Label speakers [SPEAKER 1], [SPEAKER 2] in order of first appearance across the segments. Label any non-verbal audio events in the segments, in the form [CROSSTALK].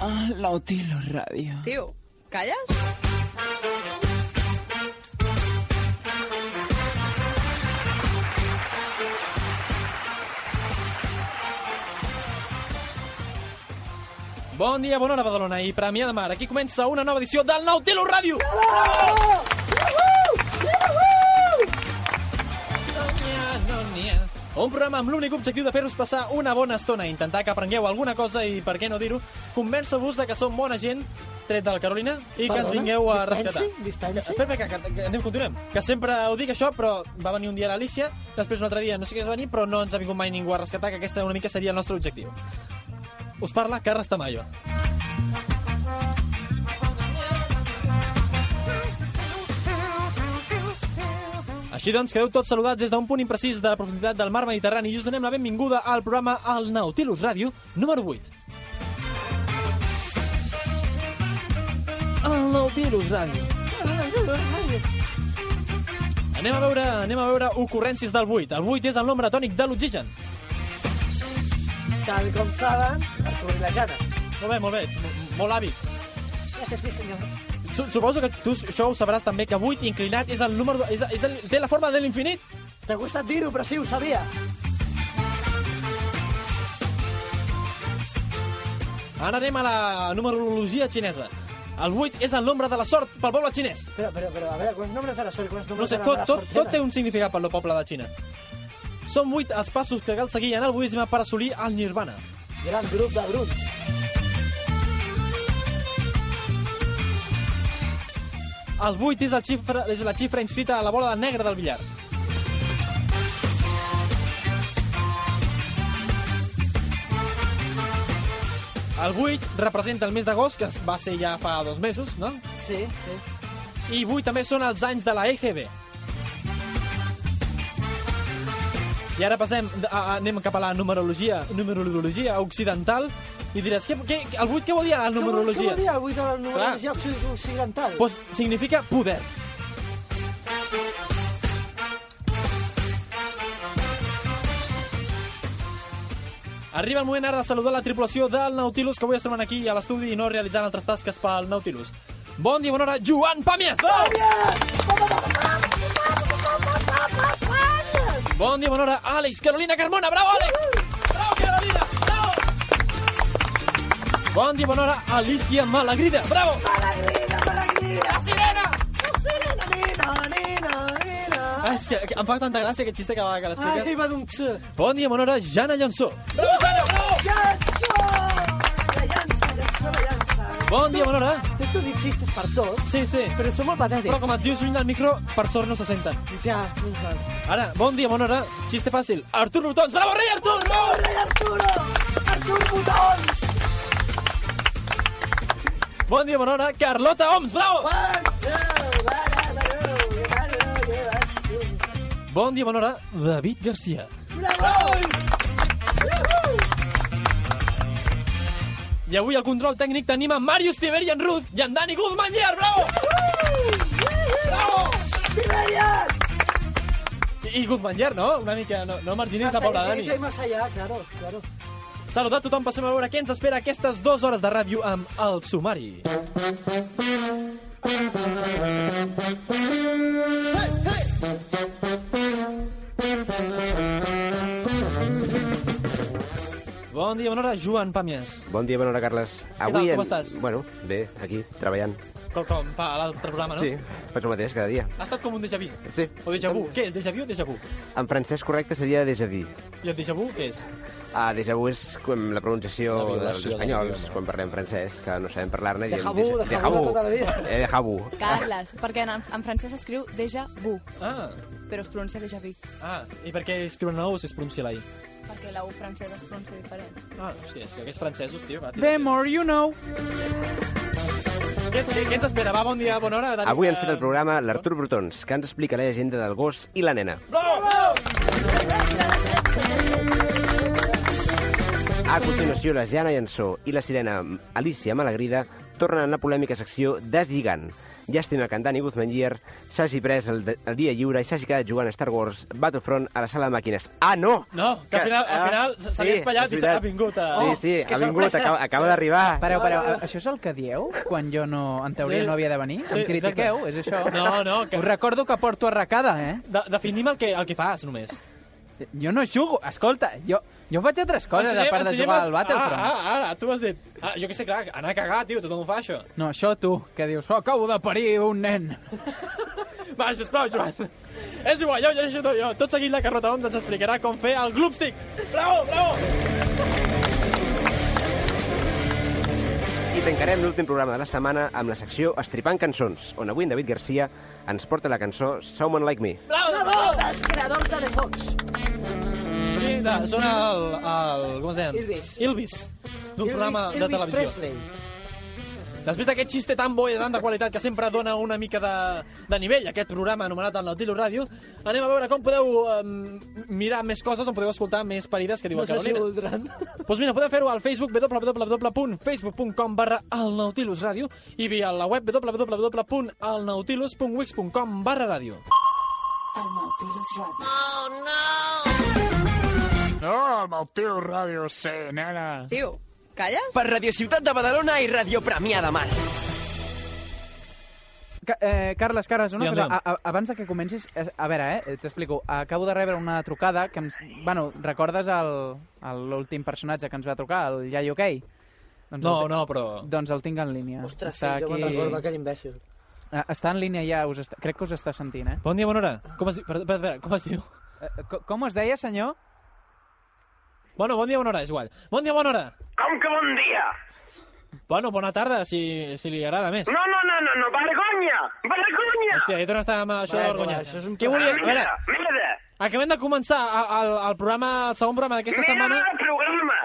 [SPEAKER 1] Ah, la Otilo Radio.
[SPEAKER 2] Tío, ¿callas?
[SPEAKER 3] Bon dia, bona hora, Badalona i Premià de Mar. Aquí comença una nova edició del Nautilo Ràdio. No n'hi ha. Un programa amb l'únic objectiu de fer-vos passar una bona estona, intentar que aprengueu alguna cosa i, per què no dir-ho, convèncer-vos de que som bona gent, tret de la Carolina, i que ens vingueu a rescatar.
[SPEAKER 1] Dispensi?
[SPEAKER 3] Espera, que, que, que anem, continuem. Que sempre ho dic això, però va venir un dia l'Alicia, després un altre dia no sé què es va venir, però no ens ha vingut mai ningú a rescatar, que aquesta una mica seria el nostre objectiu. Us parla Carles Tamayo. Així doncs, quedeu tots saludats des d'un punt imprecís de la profunditat del mar Mediterrani i us donem la benvinguda al programa El Nautilus Ràdio número 8. El Nautilus Ràdio. Anem a veure, anem a veure ocurrències del 8. El 8 és el nombre tònic de l'oxigen.
[SPEAKER 1] Tal com saben, Artur Lajana.
[SPEAKER 3] Molt bé, molt bé, ets mo- molt hàbil.
[SPEAKER 1] Gràcies, mi senyor.
[SPEAKER 3] Su- Suposo que tu això ho sabràs també, que 8 inclinat és el número... És, és el, té la forma de l'infinit.
[SPEAKER 1] T'ha gustat dir-ho, però sí, ho sabia.
[SPEAKER 3] Ara anem a la numerologia xinesa. El 8 és el nombre de la sort pel poble xinès.
[SPEAKER 1] Però, però, però, a veure, quants nombres ara són? Quants
[SPEAKER 3] No
[SPEAKER 1] nombres
[SPEAKER 3] sé,
[SPEAKER 1] ara
[SPEAKER 3] tot,
[SPEAKER 1] de la
[SPEAKER 3] tot,
[SPEAKER 1] sortera?
[SPEAKER 3] tot té un significat per al poble de Xina. Són 8 els passos que cal seguir en el budisme per assolir el nirvana.
[SPEAKER 1] Gran grup de grups.
[SPEAKER 3] El 8 és, el xifra, és la xifra inscrita a la bola de negre del billar. El 8 representa el mes d'agost, que es va ser ja fa dos mesos, no?
[SPEAKER 1] Sí, sí.
[SPEAKER 3] I 8 també són els anys de la E EGB. I ara passem, a- a- anem cap a la numerologia, numerologia occidental i diràs, què, què, el 8 què vol dir la
[SPEAKER 1] Com,
[SPEAKER 3] numerologia?
[SPEAKER 1] com dir avui de la numerologia occ- occidental?
[SPEAKER 3] Pues significa poder. Arriba el moment ara de saludar la tripulació del Nautilus, que avui es troben aquí a l'estudi i no realitzant altres tasques pel Nautilus. Bon dia, bona hora, Joan Pàmies!
[SPEAKER 4] Pues-
[SPEAKER 3] Bon dia, bona hora, Àlex, Carolina Carmona, bravo, Àlex! Bravo, Carolina, bravo! Bon dia, bona hora, Alicia Malagrida, bravo! Ah, és que, que em fa tanta gràcia aquest xiste que, que
[SPEAKER 1] Ai,
[SPEAKER 3] l'expliques.
[SPEAKER 1] que hi va d'un tx.
[SPEAKER 3] Bon dia, bona hora, Jana Llançó. Bravo, Jana, bravo! Bon dia, bona hora.
[SPEAKER 1] Intento dir xistes per tot,
[SPEAKER 3] Sí, sí.
[SPEAKER 1] però són molt patètics.
[SPEAKER 3] Però com et dius lluny del micro, per sort no se senten.
[SPEAKER 1] Ja, fins mal.
[SPEAKER 3] Ara, bon dia, bona hora, xiste fàcil. Artur Botons, bravo, rei Artur! Bravo!
[SPEAKER 1] Rei Arturo! Artur Botons!
[SPEAKER 3] Bon dia, bona hora, Carlota Oms, bravo! Bon dia, bona hora, David Garcia. I avui al control tècnic tenim a Màrius Tiberian Ruz i en Dani Guzmán Llar, bravo! I Guzmán Llar, no? Una mica, no, no marginis a pobre Dani.
[SPEAKER 1] Está más allá, claro, claro.
[SPEAKER 3] Saludat a tothom, passem a veure què ens espera aquestes dues hores de ràdio amb El Sumari. Bon dia, bona hora, Joan Pàmies.
[SPEAKER 5] Bon dia, bona hora, Carles.
[SPEAKER 3] tal, com
[SPEAKER 5] en-
[SPEAKER 3] estàs?
[SPEAKER 5] Bueno, bé, aquí, treballant.
[SPEAKER 3] Com, com fa a l'altre programa, no?
[SPEAKER 5] Sí, faig el mateix cada dia.
[SPEAKER 3] Ha estat com un déjà vu.
[SPEAKER 5] Sí.
[SPEAKER 3] O déjà vu. Què és, déjà vu o déjà vu?
[SPEAKER 5] En francès correcte seria déjà vu.
[SPEAKER 3] I el déjà vu què és?
[SPEAKER 5] Ah, déjà vu és com la pronunciació
[SPEAKER 6] La violació
[SPEAKER 5] dels
[SPEAKER 6] de la
[SPEAKER 5] espanyols,
[SPEAKER 6] idioma.
[SPEAKER 5] quan parlem francès, que no sabem parlar-ne.
[SPEAKER 1] Déjà vu, déjà vu de tota la vida.
[SPEAKER 5] Eh, déjà vu.
[SPEAKER 2] Carles, perquè en, en francès escriu déjà vu,
[SPEAKER 3] Ah,
[SPEAKER 2] però es pronuncia déjà vu,
[SPEAKER 3] ah, i per què escriuen nou si es pronuncia la I?
[SPEAKER 2] perquè la U francesa es pronuncia diferent.
[SPEAKER 3] Ah, hòstia, és que aquests francesos, tio... Va, tio.
[SPEAKER 7] The more you know.
[SPEAKER 3] Què, què ens espera? Va, bon dia, bona hora. Dani,
[SPEAKER 5] Avui ens
[SPEAKER 3] eh,
[SPEAKER 5] fet el programa l'Artur Brutons, que ens explicarà la llegenda del gos i la nena. A continuació, la Jana Jansó i la sirena Alicia Malagrida tornen a la polèmica secció Deslligant. Llàstima que en Dani Guzmán Gier s'hagi pres el, de- el dia lliure i s'hagi quedat jugant a Star Wars Battlefront a la sala de màquines. Ah, no!
[SPEAKER 3] No, Eh, que al final- al
[SPEAKER 5] ah,
[SPEAKER 3] final se- se li ha espatllat
[SPEAKER 5] és
[SPEAKER 3] i se-
[SPEAKER 5] veritat.
[SPEAKER 3] ha vingut a-
[SPEAKER 5] Sí,
[SPEAKER 3] Oh,
[SPEAKER 5] sí,
[SPEAKER 3] que
[SPEAKER 5] ha vingut,
[SPEAKER 3] sorpresa!
[SPEAKER 5] acaba, acaba d'arribar.
[SPEAKER 6] Pareu, pareu, a- això és el que dieu quan jo no, en teoria
[SPEAKER 3] Sí.
[SPEAKER 6] no havia de venir?
[SPEAKER 3] Sí,
[SPEAKER 6] em critiqueu,
[SPEAKER 3] exacte.
[SPEAKER 6] és això?
[SPEAKER 3] No, no, que-
[SPEAKER 6] Us recordo que porto arracada, eh?
[SPEAKER 3] De definim el que, el que fas, només.
[SPEAKER 6] Jo no jugo, escolta, jo, jo faig altres coses a
[SPEAKER 3] Ensenyem-
[SPEAKER 6] part de
[SPEAKER 3] ensenyem
[SPEAKER 6] jugar
[SPEAKER 3] els-
[SPEAKER 6] al Battlefront.
[SPEAKER 3] Ah, ah, ara, tu has dit... Ah, jo què sé, clar, anar a cagar, tio, tothom ho fa, això.
[SPEAKER 6] No, això tu, que dius, oh, acabo de parir un nen.
[SPEAKER 3] Va, sisplau, Joan. És igual, jo llegeixo tot jo. Tot seguit la Carrota Oms ens explicarà com fer el Gloopstick. Bravo, bravo!
[SPEAKER 5] I tancarem l'últim programa de la setmana amb la secció Estripant cançons, on avui en David Garcia ens porta la cançó Someone Like Me.
[SPEAKER 3] Sí, de, sona el, el... Com es deien?
[SPEAKER 1] Elvis.
[SPEAKER 3] Ilvis. D'un
[SPEAKER 1] Elvis-
[SPEAKER 3] programa de
[SPEAKER 1] Elvis
[SPEAKER 3] televisió.
[SPEAKER 1] Presley.
[SPEAKER 3] Després d'aquest xiste tan bo i de tanta qualitat que sempre dona una mica de, de nivell, aquest programa anomenat el Nautilus Ràdio, anem a veure com podeu um, mirar més coses, on podeu escoltar més parides que diu
[SPEAKER 1] No
[SPEAKER 3] el
[SPEAKER 1] sé si
[SPEAKER 3] Carolina.
[SPEAKER 1] voldran.
[SPEAKER 3] Doncs pues mira, podeu fer-ho al Facebook www.facebook.com barra el Nautilus Ràdio i via la web www.elnautilus.wix.com barra ràdio.
[SPEAKER 2] Tio, calles?
[SPEAKER 7] Per Radio Ciutat de Badalona i Radio Premià de Mar.
[SPEAKER 6] Ca eh, Carles, Carles, una
[SPEAKER 3] Digue'm,
[SPEAKER 6] cosa,
[SPEAKER 3] digue'm.
[SPEAKER 6] a, a, abans de que comencis, eh, a veure, eh, t'explico, acabo de rebre una trucada que em... Bueno, recordes el- el- l'últim personatge que ens va trucar, el Yayo Kei? Doncs
[SPEAKER 3] No,
[SPEAKER 6] el,
[SPEAKER 3] no, però...
[SPEAKER 6] Doncs el tinc en línia.
[SPEAKER 1] Ostres, sí, jo me'n recordo aquell imbècil.
[SPEAKER 6] Eh, Està en línia ja, us està... crec que us està sentint, eh?
[SPEAKER 3] Bon dia, bona hora. Com es diu? Perdó, espera, espera, com es diu?
[SPEAKER 6] eh co- com es deia, senyor?
[SPEAKER 3] Bueno, bon dia, bona hora, és igual. Bon dia, bona hora.
[SPEAKER 8] Com que bon dia?
[SPEAKER 3] Bueno, bona tarda, si, si li agrada més.
[SPEAKER 8] No, no, no, no, no, vergonya! Vergonya!
[SPEAKER 3] Hòstia, jo torno a estar amb això de
[SPEAKER 1] Bueno,
[SPEAKER 3] vergonya.
[SPEAKER 1] això és un
[SPEAKER 3] Què volia... A veure,
[SPEAKER 8] Merda, merda!
[SPEAKER 3] acabem de començar el, el, el programa, el segon programa d'aquesta
[SPEAKER 8] Merda
[SPEAKER 3] setmana.
[SPEAKER 8] de programa!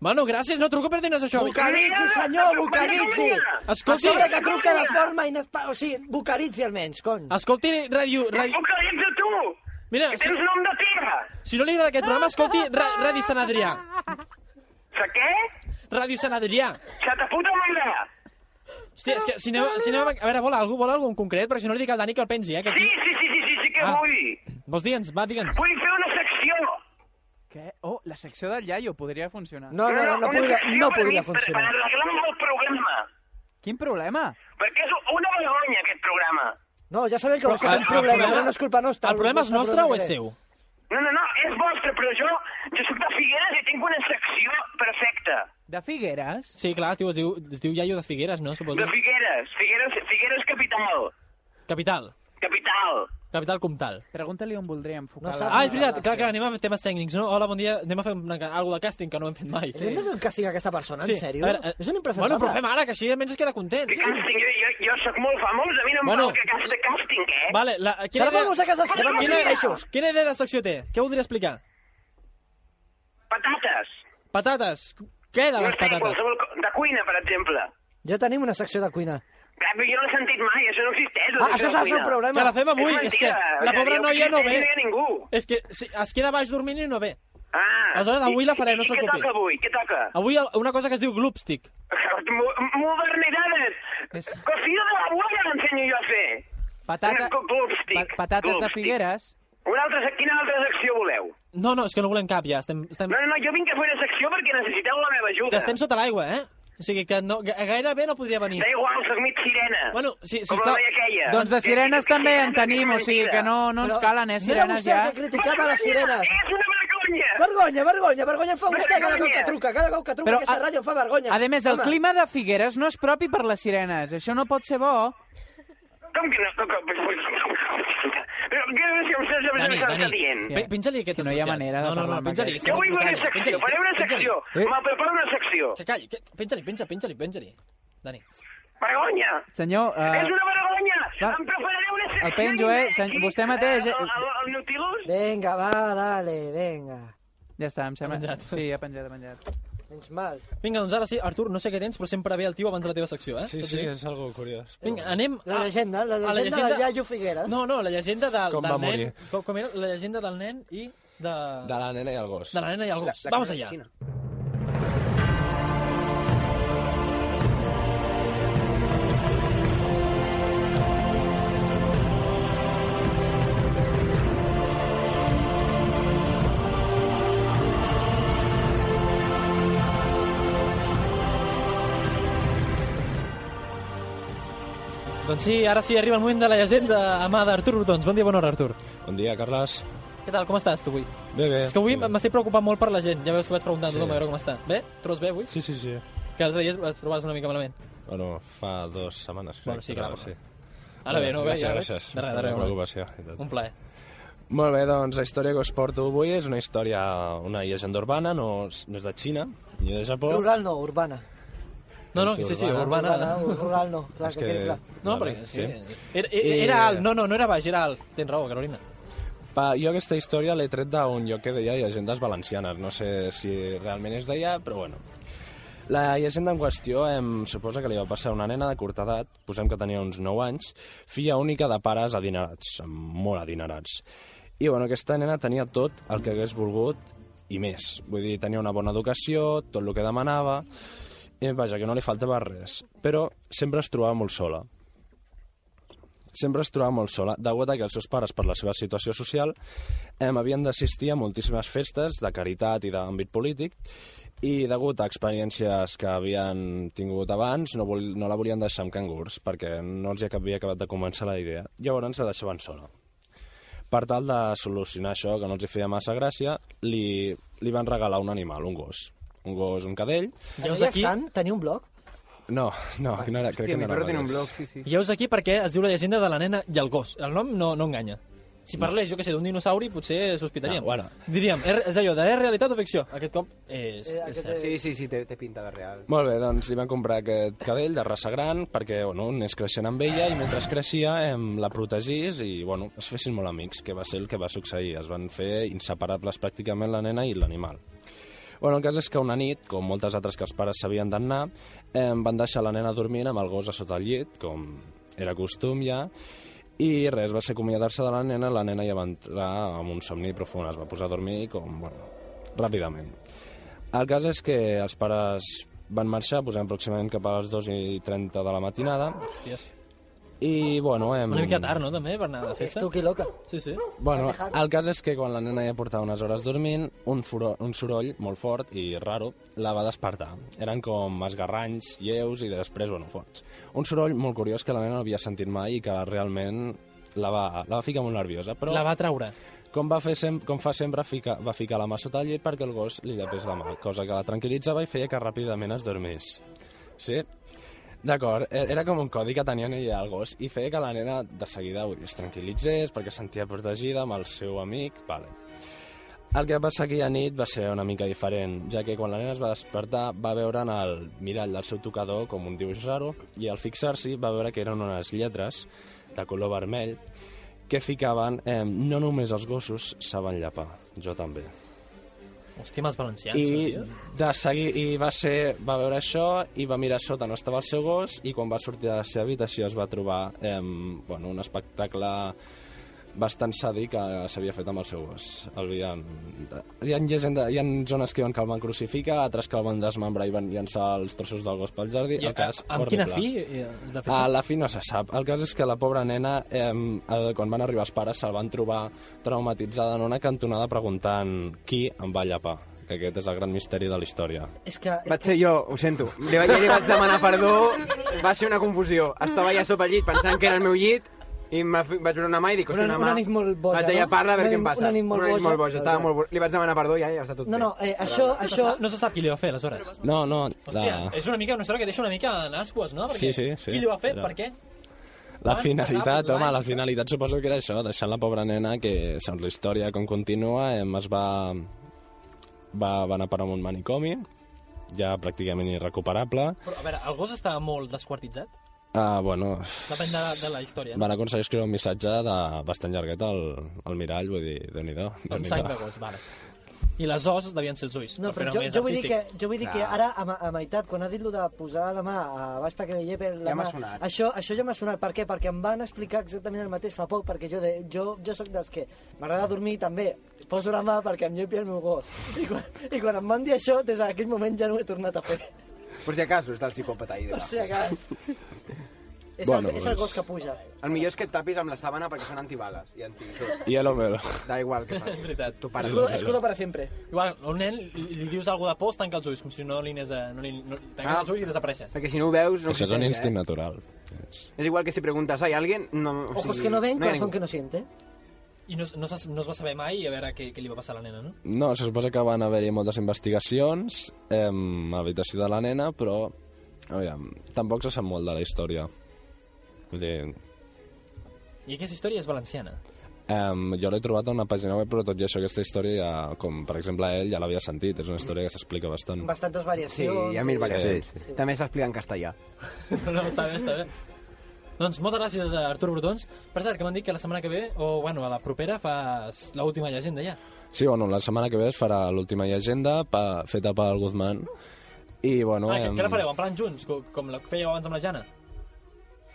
[SPEAKER 3] Bueno, gràcies, no truco per dir-nos això.
[SPEAKER 1] Bucaritzi, senyor, bucaritzi!
[SPEAKER 3] Escolti,
[SPEAKER 1] A sobre que truca de forma inesperada. O sigui, bucaritzi almenys, cony.
[SPEAKER 3] escolti, ràdio... ràdio...
[SPEAKER 8] Vocalitza tu!
[SPEAKER 3] Mira,
[SPEAKER 8] Que
[SPEAKER 3] si,
[SPEAKER 8] tens nom de tia!
[SPEAKER 3] si no li agrada aquest programa, escolti ra, Ràdio Sant Adrià.
[SPEAKER 8] Se què?
[SPEAKER 3] Ràdio Sant Adrià.
[SPEAKER 8] Se ta puta mare!
[SPEAKER 3] Hòstia, és que si anem, si anem a... a veure, vol algú, vol algú en concret? Perquè si no li dic al Dani que el pensi, eh? Que
[SPEAKER 8] Sí,
[SPEAKER 3] aquí...
[SPEAKER 8] sí, sí, sí, sí, sí que
[SPEAKER 3] Ah.
[SPEAKER 8] vull!
[SPEAKER 3] Vols dir-nos? Va, digue'ns.
[SPEAKER 8] Vull fer una secció!
[SPEAKER 6] Què? Oh, la secció del Yayo podria funcionar.
[SPEAKER 1] No, no, no, no,
[SPEAKER 8] una
[SPEAKER 1] podria,
[SPEAKER 8] secció
[SPEAKER 1] no
[SPEAKER 8] per
[SPEAKER 1] podria
[SPEAKER 8] mi-
[SPEAKER 1] funcionar.
[SPEAKER 8] Per arreglar el programa!
[SPEAKER 6] Quin problema?
[SPEAKER 8] Perquè és una vergonya, aquest programa!
[SPEAKER 1] No, ja sabem que vols que
[SPEAKER 3] el-
[SPEAKER 1] un
[SPEAKER 3] el
[SPEAKER 1] problema,
[SPEAKER 3] problema-
[SPEAKER 1] però no és culpa nostra.
[SPEAKER 3] El problema és nostre o és seu?
[SPEAKER 8] No, no, no, és vostre, però jo, jo sóc de Figueres i tinc una secció perfecta.
[SPEAKER 6] De Figueres?
[SPEAKER 3] Sí, clar, tio, es diu, es diu Iaio de Figueres, no? Suposo.
[SPEAKER 8] De Figueres, Figueres, Figueres capital.
[SPEAKER 3] Capital.
[SPEAKER 8] Capital.
[SPEAKER 3] Capital Comtal.
[SPEAKER 6] Pregunta-li on voldria enfocar
[SPEAKER 1] No
[SPEAKER 6] no
[SPEAKER 1] sap.
[SPEAKER 6] la...
[SPEAKER 3] Ah, és veritat, clar, clar, anem a temes tècnics, no? Hola, bon dia, anem a fer una, alguna de càsting que no hem fet mai.
[SPEAKER 1] Hem de fer un càstig a aquesta persona, en sèrio?
[SPEAKER 3] a veure, eh,
[SPEAKER 1] És un impresentable.
[SPEAKER 3] Bueno, però fem ara, que així almenys es queda content.
[SPEAKER 8] Que càsting, jo, jo, jo sóc molt famós, a mi no em
[SPEAKER 3] Bueno.
[SPEAKER 8] bueno. cal que casta càsting, eh?
[SPEAKER 3] Vale, la, quina,
[SPEAKER 1] Serà famós a casa seva, amb
[SPEAKER 3] quina,
[SPEAKER 1] quins peixos?
[SPEAKER 3] quina idea de secció té? Què voldria explicar?
[SPEAKER 8] Patates.
[SPEAKER 3] Patates. Què de
[SPEAKER 8] No
[SPEAKER 3] les
[SPEAKER 8] sé,
[SPEAKER 3] patates?
[SPEAKER 8] qualsevol co- de cuina, per exemple.
[SPEAKER 1] Ja tenim una secció de cuina.
[SPEAKER 8] Clar, però jo no l'he sentit mai, això no existeix. la
[SPEAKER 1] Ah,
[SPEAKER 8] secció
[SPEAKER 1] això és
[SPEAKER 8] de
[SPEAKER 1] el seu
[SPEAKER 8] cuina.
[SPEAKER 3] Que
[SPEAKER 1] problema.
[SPEAKER 3] la fem avui, és, que
[SPEAKER 8] mentida,
[SPEAKER 3] la
[SPEAKER 8] o sigui,
[SPEAKER 3] pobra
[SPEAKER 8] jo
[SPEAKER 3] noia no
[SPEAKER 8] crec que
[SPEAKER 3] ve.
[SPEAKER 8] no hi ha ningú.
[SPEAKER 3] És que si, es queda baix dormint i no ve.
[SPEAKER 8] Ah.
[SPEAKER 3] Aleshores, avui
[SPEAKER 8] I-
[SPEAKER 3] la farem, no es
[SPEAKER 8] i- i Què
[SPEAKER 3] preocupi.
[SPEAKER 8] toca avui? Què toca? [LAUGHS]
[SPEAKER 3] Avui el- una cosa que es diu gloopstick.
[SPEAKER 8] Mo- Modernidades.
[SPEAKER 6] És-
[SPEAKER 8] Cocido de la bola l'ensenyo jo a fer.
[SPEAKER 6] Patata...
[SPEAKER 8] Una- glopstick,
[SPEAKER 6] pa- patates de
[SPEAKER 8] glopstick.
[SPEAKER 6] Figueres?
[SPEAKER 8] Una altra, se- quina altra secció voleu?
[SPEAKER 3] No, no, és que no volem cap ja. Estem, estem,
[SPEAKER 8] No, no, no, jo vinc a fer una secció perquè necessiteu la meva ajuda.
[SPEAKER 3] que estem sota l'aigua, eh? O sigui que no, ga- gairebé no podria venir.
[SPEAKER 8] Da igual, sóc mig sirena.
[SPEAKER 3] Bueno, sí,
[SPEAKER 8] Com la
[SPEAKER 3] sisplau.
[SPEAKER 8] veia aquella.
[SPEAKER 6] Doncs de sirenes també en tenim, o sigui que no, no ens
[SPEAKER 1] Però
[SPEAKER 6] calen,
[SPEAKER 1] no
[SPEAKER 6] eh,
[SPEAKER 1] era
[SPEAKER 6] sirenes
[SPEAKER 1] vostè
[SPEAKER 6] ja.
[SPEAKER 1] el que criticava les sirenes.
[SPEAKER 8] És una vergonya!
[SPEAKER 1] Vergonya, vergonya, vergonya em fa vostè cada cop que
[SPEAKER 8] Vergonya.
[SPEAKER 1] truca, cada cop que truca
[SPEAKER 6] Però,
[SPEAKER 1] aquesta
[SPEAKER 6] a-
[SPEAKER 1] ràdio em fa vergonya.
[SPEAKER 6] A més, el
[SPEAKER 1] Home,
[SPEAKER 6] clima de Figueres no és propi per les sirenes. Això no pot ser bo.
[SPEAKER 8] Com que no? Com que... Però què és que vostè
[SPEAKER 3] Dani,
[SPEAKER 8] Doncs s'està
[SPEAKER 3] Dani,
[SPEAKER 8] dient?
[SPEAKER 3] pe- penja-li aquest
[SPEAKER 6] Si no hi ha
[SPEAKER 3] associat.
[SPEAKER 6] manera de
[SPEAKER 3] No, no,
[SPEAKER 6] parlar
[SPEAKER 3] no,
[SPEAKER 6] amb
[SPEAKER 3] penja-li. és
[SPEAKER 6] aquest.
[SPEAKER 3] que
[SPEAKER 8] Jo vull fer una
[SPEAKER 3] penja-li,
[SPEAKER 8] secció,
[SPEAKER 3] penja-li,
[SPEAKER 8] faré una
[SPEAKER 3] penja-li.
[SPEAKER 8] secció.
[SPEAKER 6] Eh?
[SPEAKER 8] Me'l preparo una secció.
[SPEAKER 3] Que calli, que... penja-li, penja, penja-li, penja-li. Dani. Ah.
[SPEAKER 8] Vergonya!
[SPEAKER 6] Senyor, eh,
[SPEAKER 8] És una vergonya!
[SPEAKER 6] va.
[SPEAKER 8] Em prepararé una secció...
[SPEAKER 6] El penjo, eh,
[SPEAKER 8] aquí,
[SPEAKER 6] sen- vostè mateix, eh.
[SPEAKER 8] eh, El, el, el Nautilus?
[SPEAKER 1] Vinga, va, dale, vinga.
[SPEAKER 6] ja està, em sembla.
[SPEAKER 3] Ha penjat.
[SPEAKER 6] Sí, ha penjat, ha penjat.
[SPEAKER 1] Menys mal.
[SPEAKER 3] Vinga, doncs ara sí, Artur, no sé què tens, però sempre ve el tio abans de la teva secció, eh?
[SPEAKER 9] Sí, sí, és algo curiós.
[SPEAKER 3] Vinga, anem...
[SPEAKER 1] La llegenda, la
[SPEAKER 3] a
[SPEAKER 1] llegenda, del Iaio Figueres.
[SPEAKER 3] No, no, la llegenda del,
[SPEAKER 9] Com
[SPEAKER 3] del
[SPEAKER 9] va
[SPEAKER 3] nen...
[SPEAKER 9] morir.
[SPEAKER 3] Com, com era? La llegenda del nen i de...
[SPEAKER 9] De la nena i el gos.
[SPEAKER 3] de la nena i el gos.
[SPEAKER 9] La- la
[SPEAKER 3] Vamos
[SPEAKER 9] cosa
[SPEAKER 3] allà.
[SPEAKER 9] xina.
[SPEAKER 3] Doncs sí, ara sí, arriba el moment de la llegenda a mà d'Artur Brutons. Bon dia, bona hora, Artur.
[SPEAKER 9] Bon dia, Carles.
[SPEAKER 3] Què tal, com estàs tu avui?
[SPEAKER 9] Bé, bé.
[SPEAKER 3] És que avui m'estic preocupant molt per la gent. Ja veus que vaig preguntant
[SPEAKER 9] Sí.
[SPEAKER 3] a tothom a veure com està. Bé? Trobes bé avui?
[SPEAKER 9] Sí, sí, sí.
[SPEAKER 3] Que l'altre dia et trobaves una mica malament.
[SPEAKER 9] Bueno, fa dues setmanes, crec.
[SPEAKER 3] Bueno, sí, clar,
[SPEAKER 9] Sí.
[SPEAKER 3] Ara bé, no? Bé,
[SPEAKER 9] Gràcies,
[SPEAKER 3] ja veus?
[SPEAKER 9] gràcies.
[SPEAKER 3] De res,
[SPEAKER 9] Per
[SPEAKER 3] de
[SPEAKER 9] la
[SPEAKER 3] res.
[SPEAKER 9] preocupació i tot.
[SPEAKER 3] Un plaer.
[SPEAKER 9] Molt bé, doncs la història que us porto avui és una història, una llegenda urbana, no, no és de Xina, ni de Japó.
[SPEAKER 1] Rural no, urbana.
[SPEAKER 3] No, no, sí, sí, urbana.
[SPEAKER 1] Urbana, rural no, clar,
[SPEAKER 9] És
[SPEAKER 1] que,
[SPEAKER 9] que-
[SPEAKER 1] quedi clar.
[SPEAKER 3] No,
[SPEAKER 9] Vale,
[SPEAKER 3] perquè sí.
[SPEAKER 9] sí. Eh.
[SPEAKER 3] Era, era,
[SPEAKER 9] I-
[SPEAKER 3] era alt. No, no, no era baix, era alt. Tens raó, Carolina.
[SPEAKER 9] Pa, jo aquesta història l'he tret d'un lloc que deia llegendes valencianes. No sé si realment és d'allà, però bueno. La llegenda en qüestió em suposa que li va passar a una nena de curta edat, posem que tenia uns 9 anys, filla única de pares adinerats, molt adinerats. I bueno, aquesta nena tenia tot el que hagués volgut i més. Vull dir, tenia una bona educació, tot el que demanava, i vaja, que no li faltava res. Però sempre es trobava molt sola sempre es trobava molt sola, degut a que els seus pares, per la seva situació social, eh, havien d'assistir a moltíssimes festes de caritat i d'àmbit polític, i degut a experiències que havien tingut abans, no, vol, no la volien deixar amb cangurs, perquè no els hi havia acabat de convèncer la idea. Llavors la deixaven sola. Per tal de solucionar això, que no els hi feia massa gràcia, li, li van regalar un animal, un gos. Un gos, un cadell...
[SPEAKER 1] Ja us aquí... Estan, tenia un blog?
[SPEAKER 9] No, no, no era, crec que no era gos.
[SPEAKER 6] sí.
[SPEAKER 3] Ja us aquí perquè es diu la llegenda de la nena i el gos. El nom no, no enganya. Si parlés, jo què sé, d'un dinosauri, potser sospitaríem.
[SPEAKER 9] No, Ah, bueno.
[SPEAKER 3] Diríem, "Er-", és, és allò, de és realitat o ficció? Aquest cop és, és cert.
[SPEAKER 10] Sí, sí, sí, té, té pinta de real.
[SPEAKER 9] Molt bé, doncs li van comprar aquest cadell de raça gran perquè bueno, anés creixent amb ella i mentre creixia em, la protegís i bueno, es fessin molt amics, que va ser el que va succeir. Es van fer inseparables pràcticament la nena i l'animal. Bueno, el cas és que una nit, com moltes altres que els pares s'havien d'anar, eh, van deixar la nena dormint amb el gos a sota el llit, com era costum ja, i res, va ser acomiadar-se de la nena, la nena ja va entrar amb un somni profund, es va posar a dormir com, bueno, ràpidament. El cas és que els pares van marxar, posem aproximadament cap a les 2 i 30 de la matinada,
[SPEAKER 3] Hòsties.
[SPEAKER 9] i bueno... Em...
[SPEAKER 3] Una mica tard, no, també, per anar de festa?
[SPEAKER 1] Estuqui loca.
[SPEAKER 3] Sí, sí.
[SPEAKER 9] Bueno, el cas és que quan la nena ja portava unes hores dormint, un, furo, un soroll molt fort i raro la va despertar. Eren com esgarranys, lleus i després, bueno, forts. Un soroll molt curiós que la nena no havia sentit mai i que realment la va, la va ficar molt nerviosa, però...
[SPEAKER 3] La va traure.
[SPEAKER 9] Com, va fer sem com fa sempre, fica, va ficar la mà sota el llit perquè el gos li llapés la mà, cosa que la tranquil·litzava i feia que ràpidament es dormís. Sí? D'acord, e- era com un codi que tenien ella al gos i feia que la nena de seguida ui, es tranquil·litzés perquè es sentia protegida amb el seu amic, vale. El que va passar aquella nit va ser una mica diferent, ja que quan la nena es va despertar va veure en el mirall del seu tocador com un dibuix raro i al fixar-s'hi va veure que eren unes lletres de color vermell que ficaven eh, no només els gossos saben llapar, jo també.
[SPEAKER 3] Hòstia, amb els valencians,
[SPEAKER 9] I,
[SPEAKER 3] tio.
[SPEAKER 9] de seguir, i va, ser, va veure això i va mirar a sota, no estava el seu gos i quan va sortir de la seva habitació es va trobar eh, bueno, un espectacle bastant sàdic que s'havia fet amb el seu gos. El havien... Hi ha, llegenda, hi ha zones que diuen que el van crucificar, altres que el van desmembrar i van llançar els trossos del gos pel jardí.
[SPEAKER 3] I
[SPEAKER 9] el cas,
[SPEAKER 3] amb
[SPEAKER 9] horrible.
[SPEAKER 3] quina fi eh, la festa?
[SPEAKER 9] A Ah, la fi no se sap. El cas és que la pobra nena, eh, eh, quan van arribar els pares, se'l van trobar traumatitzada en una cantonada preguntant qui em va llapar, que aquest és el gran misteri de la història.
[SPEAKER 1] És que...
[SPEAKER 10] Vaig ser jo, ho sento. Li vaig, li vaig demanar perdó, va ser una confusió. Estava allà sota el llit pensant que era el meu llit i em va fer- vaig veure una mà i dic, hòstia,
[SPEAKER 1] Una-
[SPEAKER 10] una, mà...
[SPEAKER 1] una nit molt boja,
[SPEAKER 10] Vaig allà a
[SPEAKER 1] no?
[SPEAKER 10] parlar a
[SPEAKER 1] Una
[SPEAKER 10] veure què em
[SPEAKER 1] nit-
[SPEAKER 10] passa.
[SPEAKER 1] una nit molt boja.
[SPEAKER 10] molt boja. Estava
[SPEAKER 1] Veure.
[SPEAKER 10] molt... bo- Li vaig demanar perdó i ja, ja està tot
[SPEAKER 1] No,
[SPEAKER 10] bé.
[SPEAKER 1] no, eh, això, això...
[SPEAKER 3] No se sap qui li va fer, aleshores.
[SPEAKER 9] No, no,
[SPEAKER 3] Hòstia,
[SPEAKER 9] la,
[SPEAKER 3] és una mica una història que deixa una mica en ascues, no? Perquè
[SPEAKER 9] Ah. Sí, sí, sí.
[SPEAKER 3] Qui li va fer?
[SPEAKER 9] Era-
[SPEAKER 3] Per què?
[SPEAKER 9] la
[SPEAKER 3] abans se
[SPEAKER 9] finalitat,
[SPEAKER 3] sap,
[SPEAKER 9] home, la
[SPEAKER 3] l'any,
[SPEAKER 9] finalitat suposo que era això, deixant la pobra nena que, segons la història com continua, eh, es va, va, va anar per a un manicomi, ja pràcticament irrecuperable.
[SPEAKER 3] Però, a veure, el gos estava molt desquartitzat?
[SPEAKER 9] Ah, bueno,
[SPEAKER 3] Depèn de la, de la història. no?
[SPEAKER 9] van aconseguir escriure un missatge de bastant llarguet al, al mirall, vull dir, déu nhi
[SPEAKER 3] Amb sang de gos, vale. I les os devien ser els ulls.
[SPEAKER 1] No,
[SPEAKER 3] per
[SPEAKER 1] però
[SPEAKER 3] fer-ho
[SPEAKER 1] jo,
[SPEAKER 3] més
[SPEAKER 1] jo vull dir que,
[SPEAKER 3] artístic.
[SPEAKER 1] jo vull dir que ara, a, ma- a meitat, quan has dit lo de posar la mà a baix perquè li llepe la
[SPEAKER 3] Ja m'ha
[SPEAKER 1] mà...
[SPEAKER 3] sonat.
[SPEAKER 1] Això, això ja m'ha sonat. Per què? Perquè em van explicar exactament el mateix fa poc, perquè jo, de, jo, jo sóc dels que m'agrada dormir també. Poso la mà perquè em llepi el meu gos. I quan, i quan em van dir això, des d'aquell moment ja no ho he tornat a fer.
[SPEAKER 10] Per si acaso està el psicòpata ahí.
[SPEAKER 1] Per
[SPEAKER 10] debajo.
[SPEAKER 1] si de
[SPEAKER 10] [LAUGHS]
[SPEAKER 1] cas. És,
[SPEAKER 10] Bueno,
[SPEAKER 1] el, és el
[SPEAKER 10] doncs-
[SPEAKER 1] gos que puja.
[SPEAKER 10] El millor és que et tapis amb la sàbana perquè són antibales i
[SPEAKER 1] [LAUGHS]
[SPEAKER 10] antitot.
[SPEAKER 9] I el homero.
[SPEAKER 10] Da igual
[SPEAKER 3] [LAUGHS]
[SPEAKER 10] què facis. És
[SPEAKER 3] veritat.
[SPEAKER 10] Tu pares.
[SPEAKER 1] para sempre.
[SPEAKER 3] Igual, a un nen li, li dius alguna cosa de por, es tanca els ulls, com si no li anés a... No li, no, tanca
[SPEAKER 10] Ah,
[SPEAKER 3] els ulls i desapareixes.
[SPEAKER 10] Perquè si no ho veus... No
[SPEAKER 9] Això és un eh?
[SPEAKER 10] existeix,
[SPEAKER 9] instint natural.
[SPEAKER 10] Eh? És igual que si preguntes a alguien... No, o sigui,
[SPEAKER 3] Ojos que no ven,
[SPEAKER 10] hi ha
[SPEAKER 3] corazón
[SPEAKER 10] ningú.
[SPEAKER 1] Que no siente.
[SPEAKER 3] I no, es- no, es- no es va saber mai a veure què, què li va passar a la nena, no?
[SPEAKER 9] No, se suposa que van haver-hi moltes investigacions em, a l'habitació de la nena, però aviam, tampoc se sap molt de la història. Vull dir,
[SPEAKER 3] I aquesta història és valenciana.
[SPEAKER 9] em, jo l'he trobat a una pàgina web, però tot i això aquesta història, ja, com per exemple ell, ja l'havia sentit. És una història que s'explica bastant.
[SPEAKER 1] Bastantes variacions.
[SPEAKER 9] Sí, hi ha mil variacions. Sí, sí.
[SPEAKER 10] També s'explica en castellà.
[SPEAKER 3] [LAUGHS] No, no, està bé, està bé. Doncs moltes gràcies a Artur Brotons. Per cert, que m'han dit que la setmana que ve, o bueno, a la propera, fas l'última llegenda ja.
[SPEAKER 9] Sí, bueno, la setmana que ve es farà l'última llegenda pa, feta pel Guzmán. I, bueno,
[SPEAKER 3] No, ah, que,
[SPEAKER 9] em,
[SPEAKER 3] què la fareu? En plan junts, co- com la que fèieu abans amb la Jana?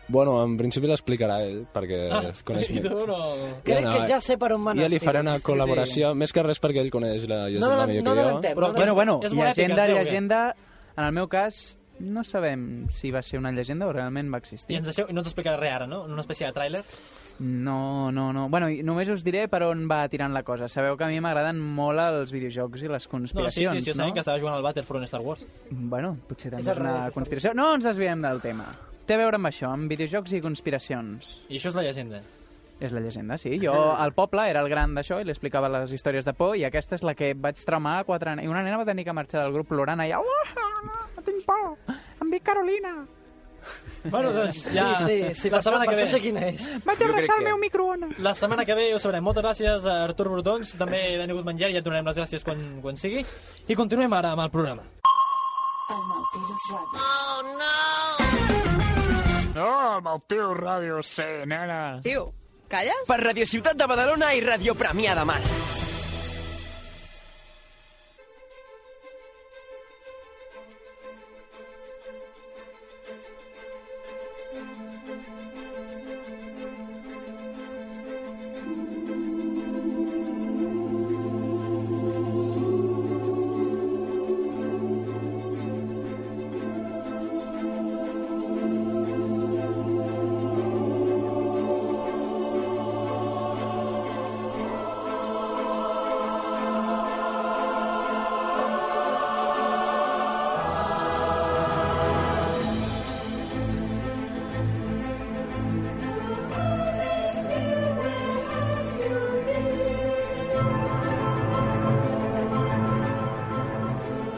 [SPEAKER 9] bueno, en principi l'explicarà ell, perquè
[SPEAKER 3] Ah,
[SPEAKER 9] es coneix
[SPEAKER 3] [LAUGHS] I
[SPEAKER 9] més.
[SPEAKER 3] tu no...
[SPEAKER 1] Crec que ja sé per on van
[SPEAKER 9] Jo
[SPEAKER 1] els
[SPEAKER 9] li faré
[SPEAKER 1] tiros.
[SPEAKER 9] una col·laboració, sí. més que res perquè ell coneix la llegenda millor
[SPEAKER 1] no, no
[SPEAKER 9] que jo.
[SPEAKER 1] adellantem,
[SPEAKER 6] Però, bueno, bueno,
[SPEAKER 3] és molt
[SPEAKER 6] llegenda,
[SPEAKER 3] èpica, es veu,
[SPEAKER 6] llegenda... En el meu cas, no sabem si va ser una llegenda o realment va existir.
[SPEAKER 3] I ens deixeu, i no ens explicarà res ara, no? En una espècie de tràiler.
[SPEAKER 6] No, no, no. Bueno, i només us diré per on va tirant la cosa. Sabeu que a mi m'agraden molt els videojocs i
[SPEAKER 3] No,
[SPEAKER 6] les
[SPEAKER 3] sí,
[SPEAKER 6] conspiracions,
[SPEAKER 3] sí, sí, jo
[SPEAKER 6] no?
[SPEAKER 3] sabia que estava jugant al Battlefront Star Wars.
[SPEAKER 6] Bueno, potser també
[SPEAKER 3] És al
[SPEAKER 6] és una
[SPEAKER 3] revés, està
[SPEAKER 6] conspiració. No ens desviem del tema. Té a veure amb això, amb videojocs i conspiracions.
[SPEAKER 3] I això és la llegenda.
[SPEAKER 6] És la llegenda, sí. Jo al poble era el gran d'això i li explicava les històries de por i aquesta és la que vaig tramar a quatre nens. I una nena va tenir que marxar del grup plorant allà. Uah, no tinc por, em dic Carolina.
[SPEAKER 3] Bueno, doncs ja...
[SPEAKER 6] Sí, sí, sí,
[SPEAKER 3] la
[SPEAKER 6] per
[SPEAKER 3] setmana que
[SPEAKER 6] això- per
[SPEAKER 3] ve...
[SPEAKER 6] això sé quina és. Vaig Jo abraçar crec el que- meu microones.
[SPEAKER 3] La setmana que ve ho sabrem. Moltes gràcies a Artur Brotons, també de Negut Menjar, i ja et donarem les gràcies quan, quan sigui. I continuem ara amb el programa.
[SPEAKER 11] El Maltires Ràdio. Oh, no!
[SPEAKER 7] No, amb el teu Ràdio C, nena.
[SPEAKER 2] Tio, calles?
[SPEAKER 7] Per Radio Ciutat de Badalona i Radio Premià de Mar.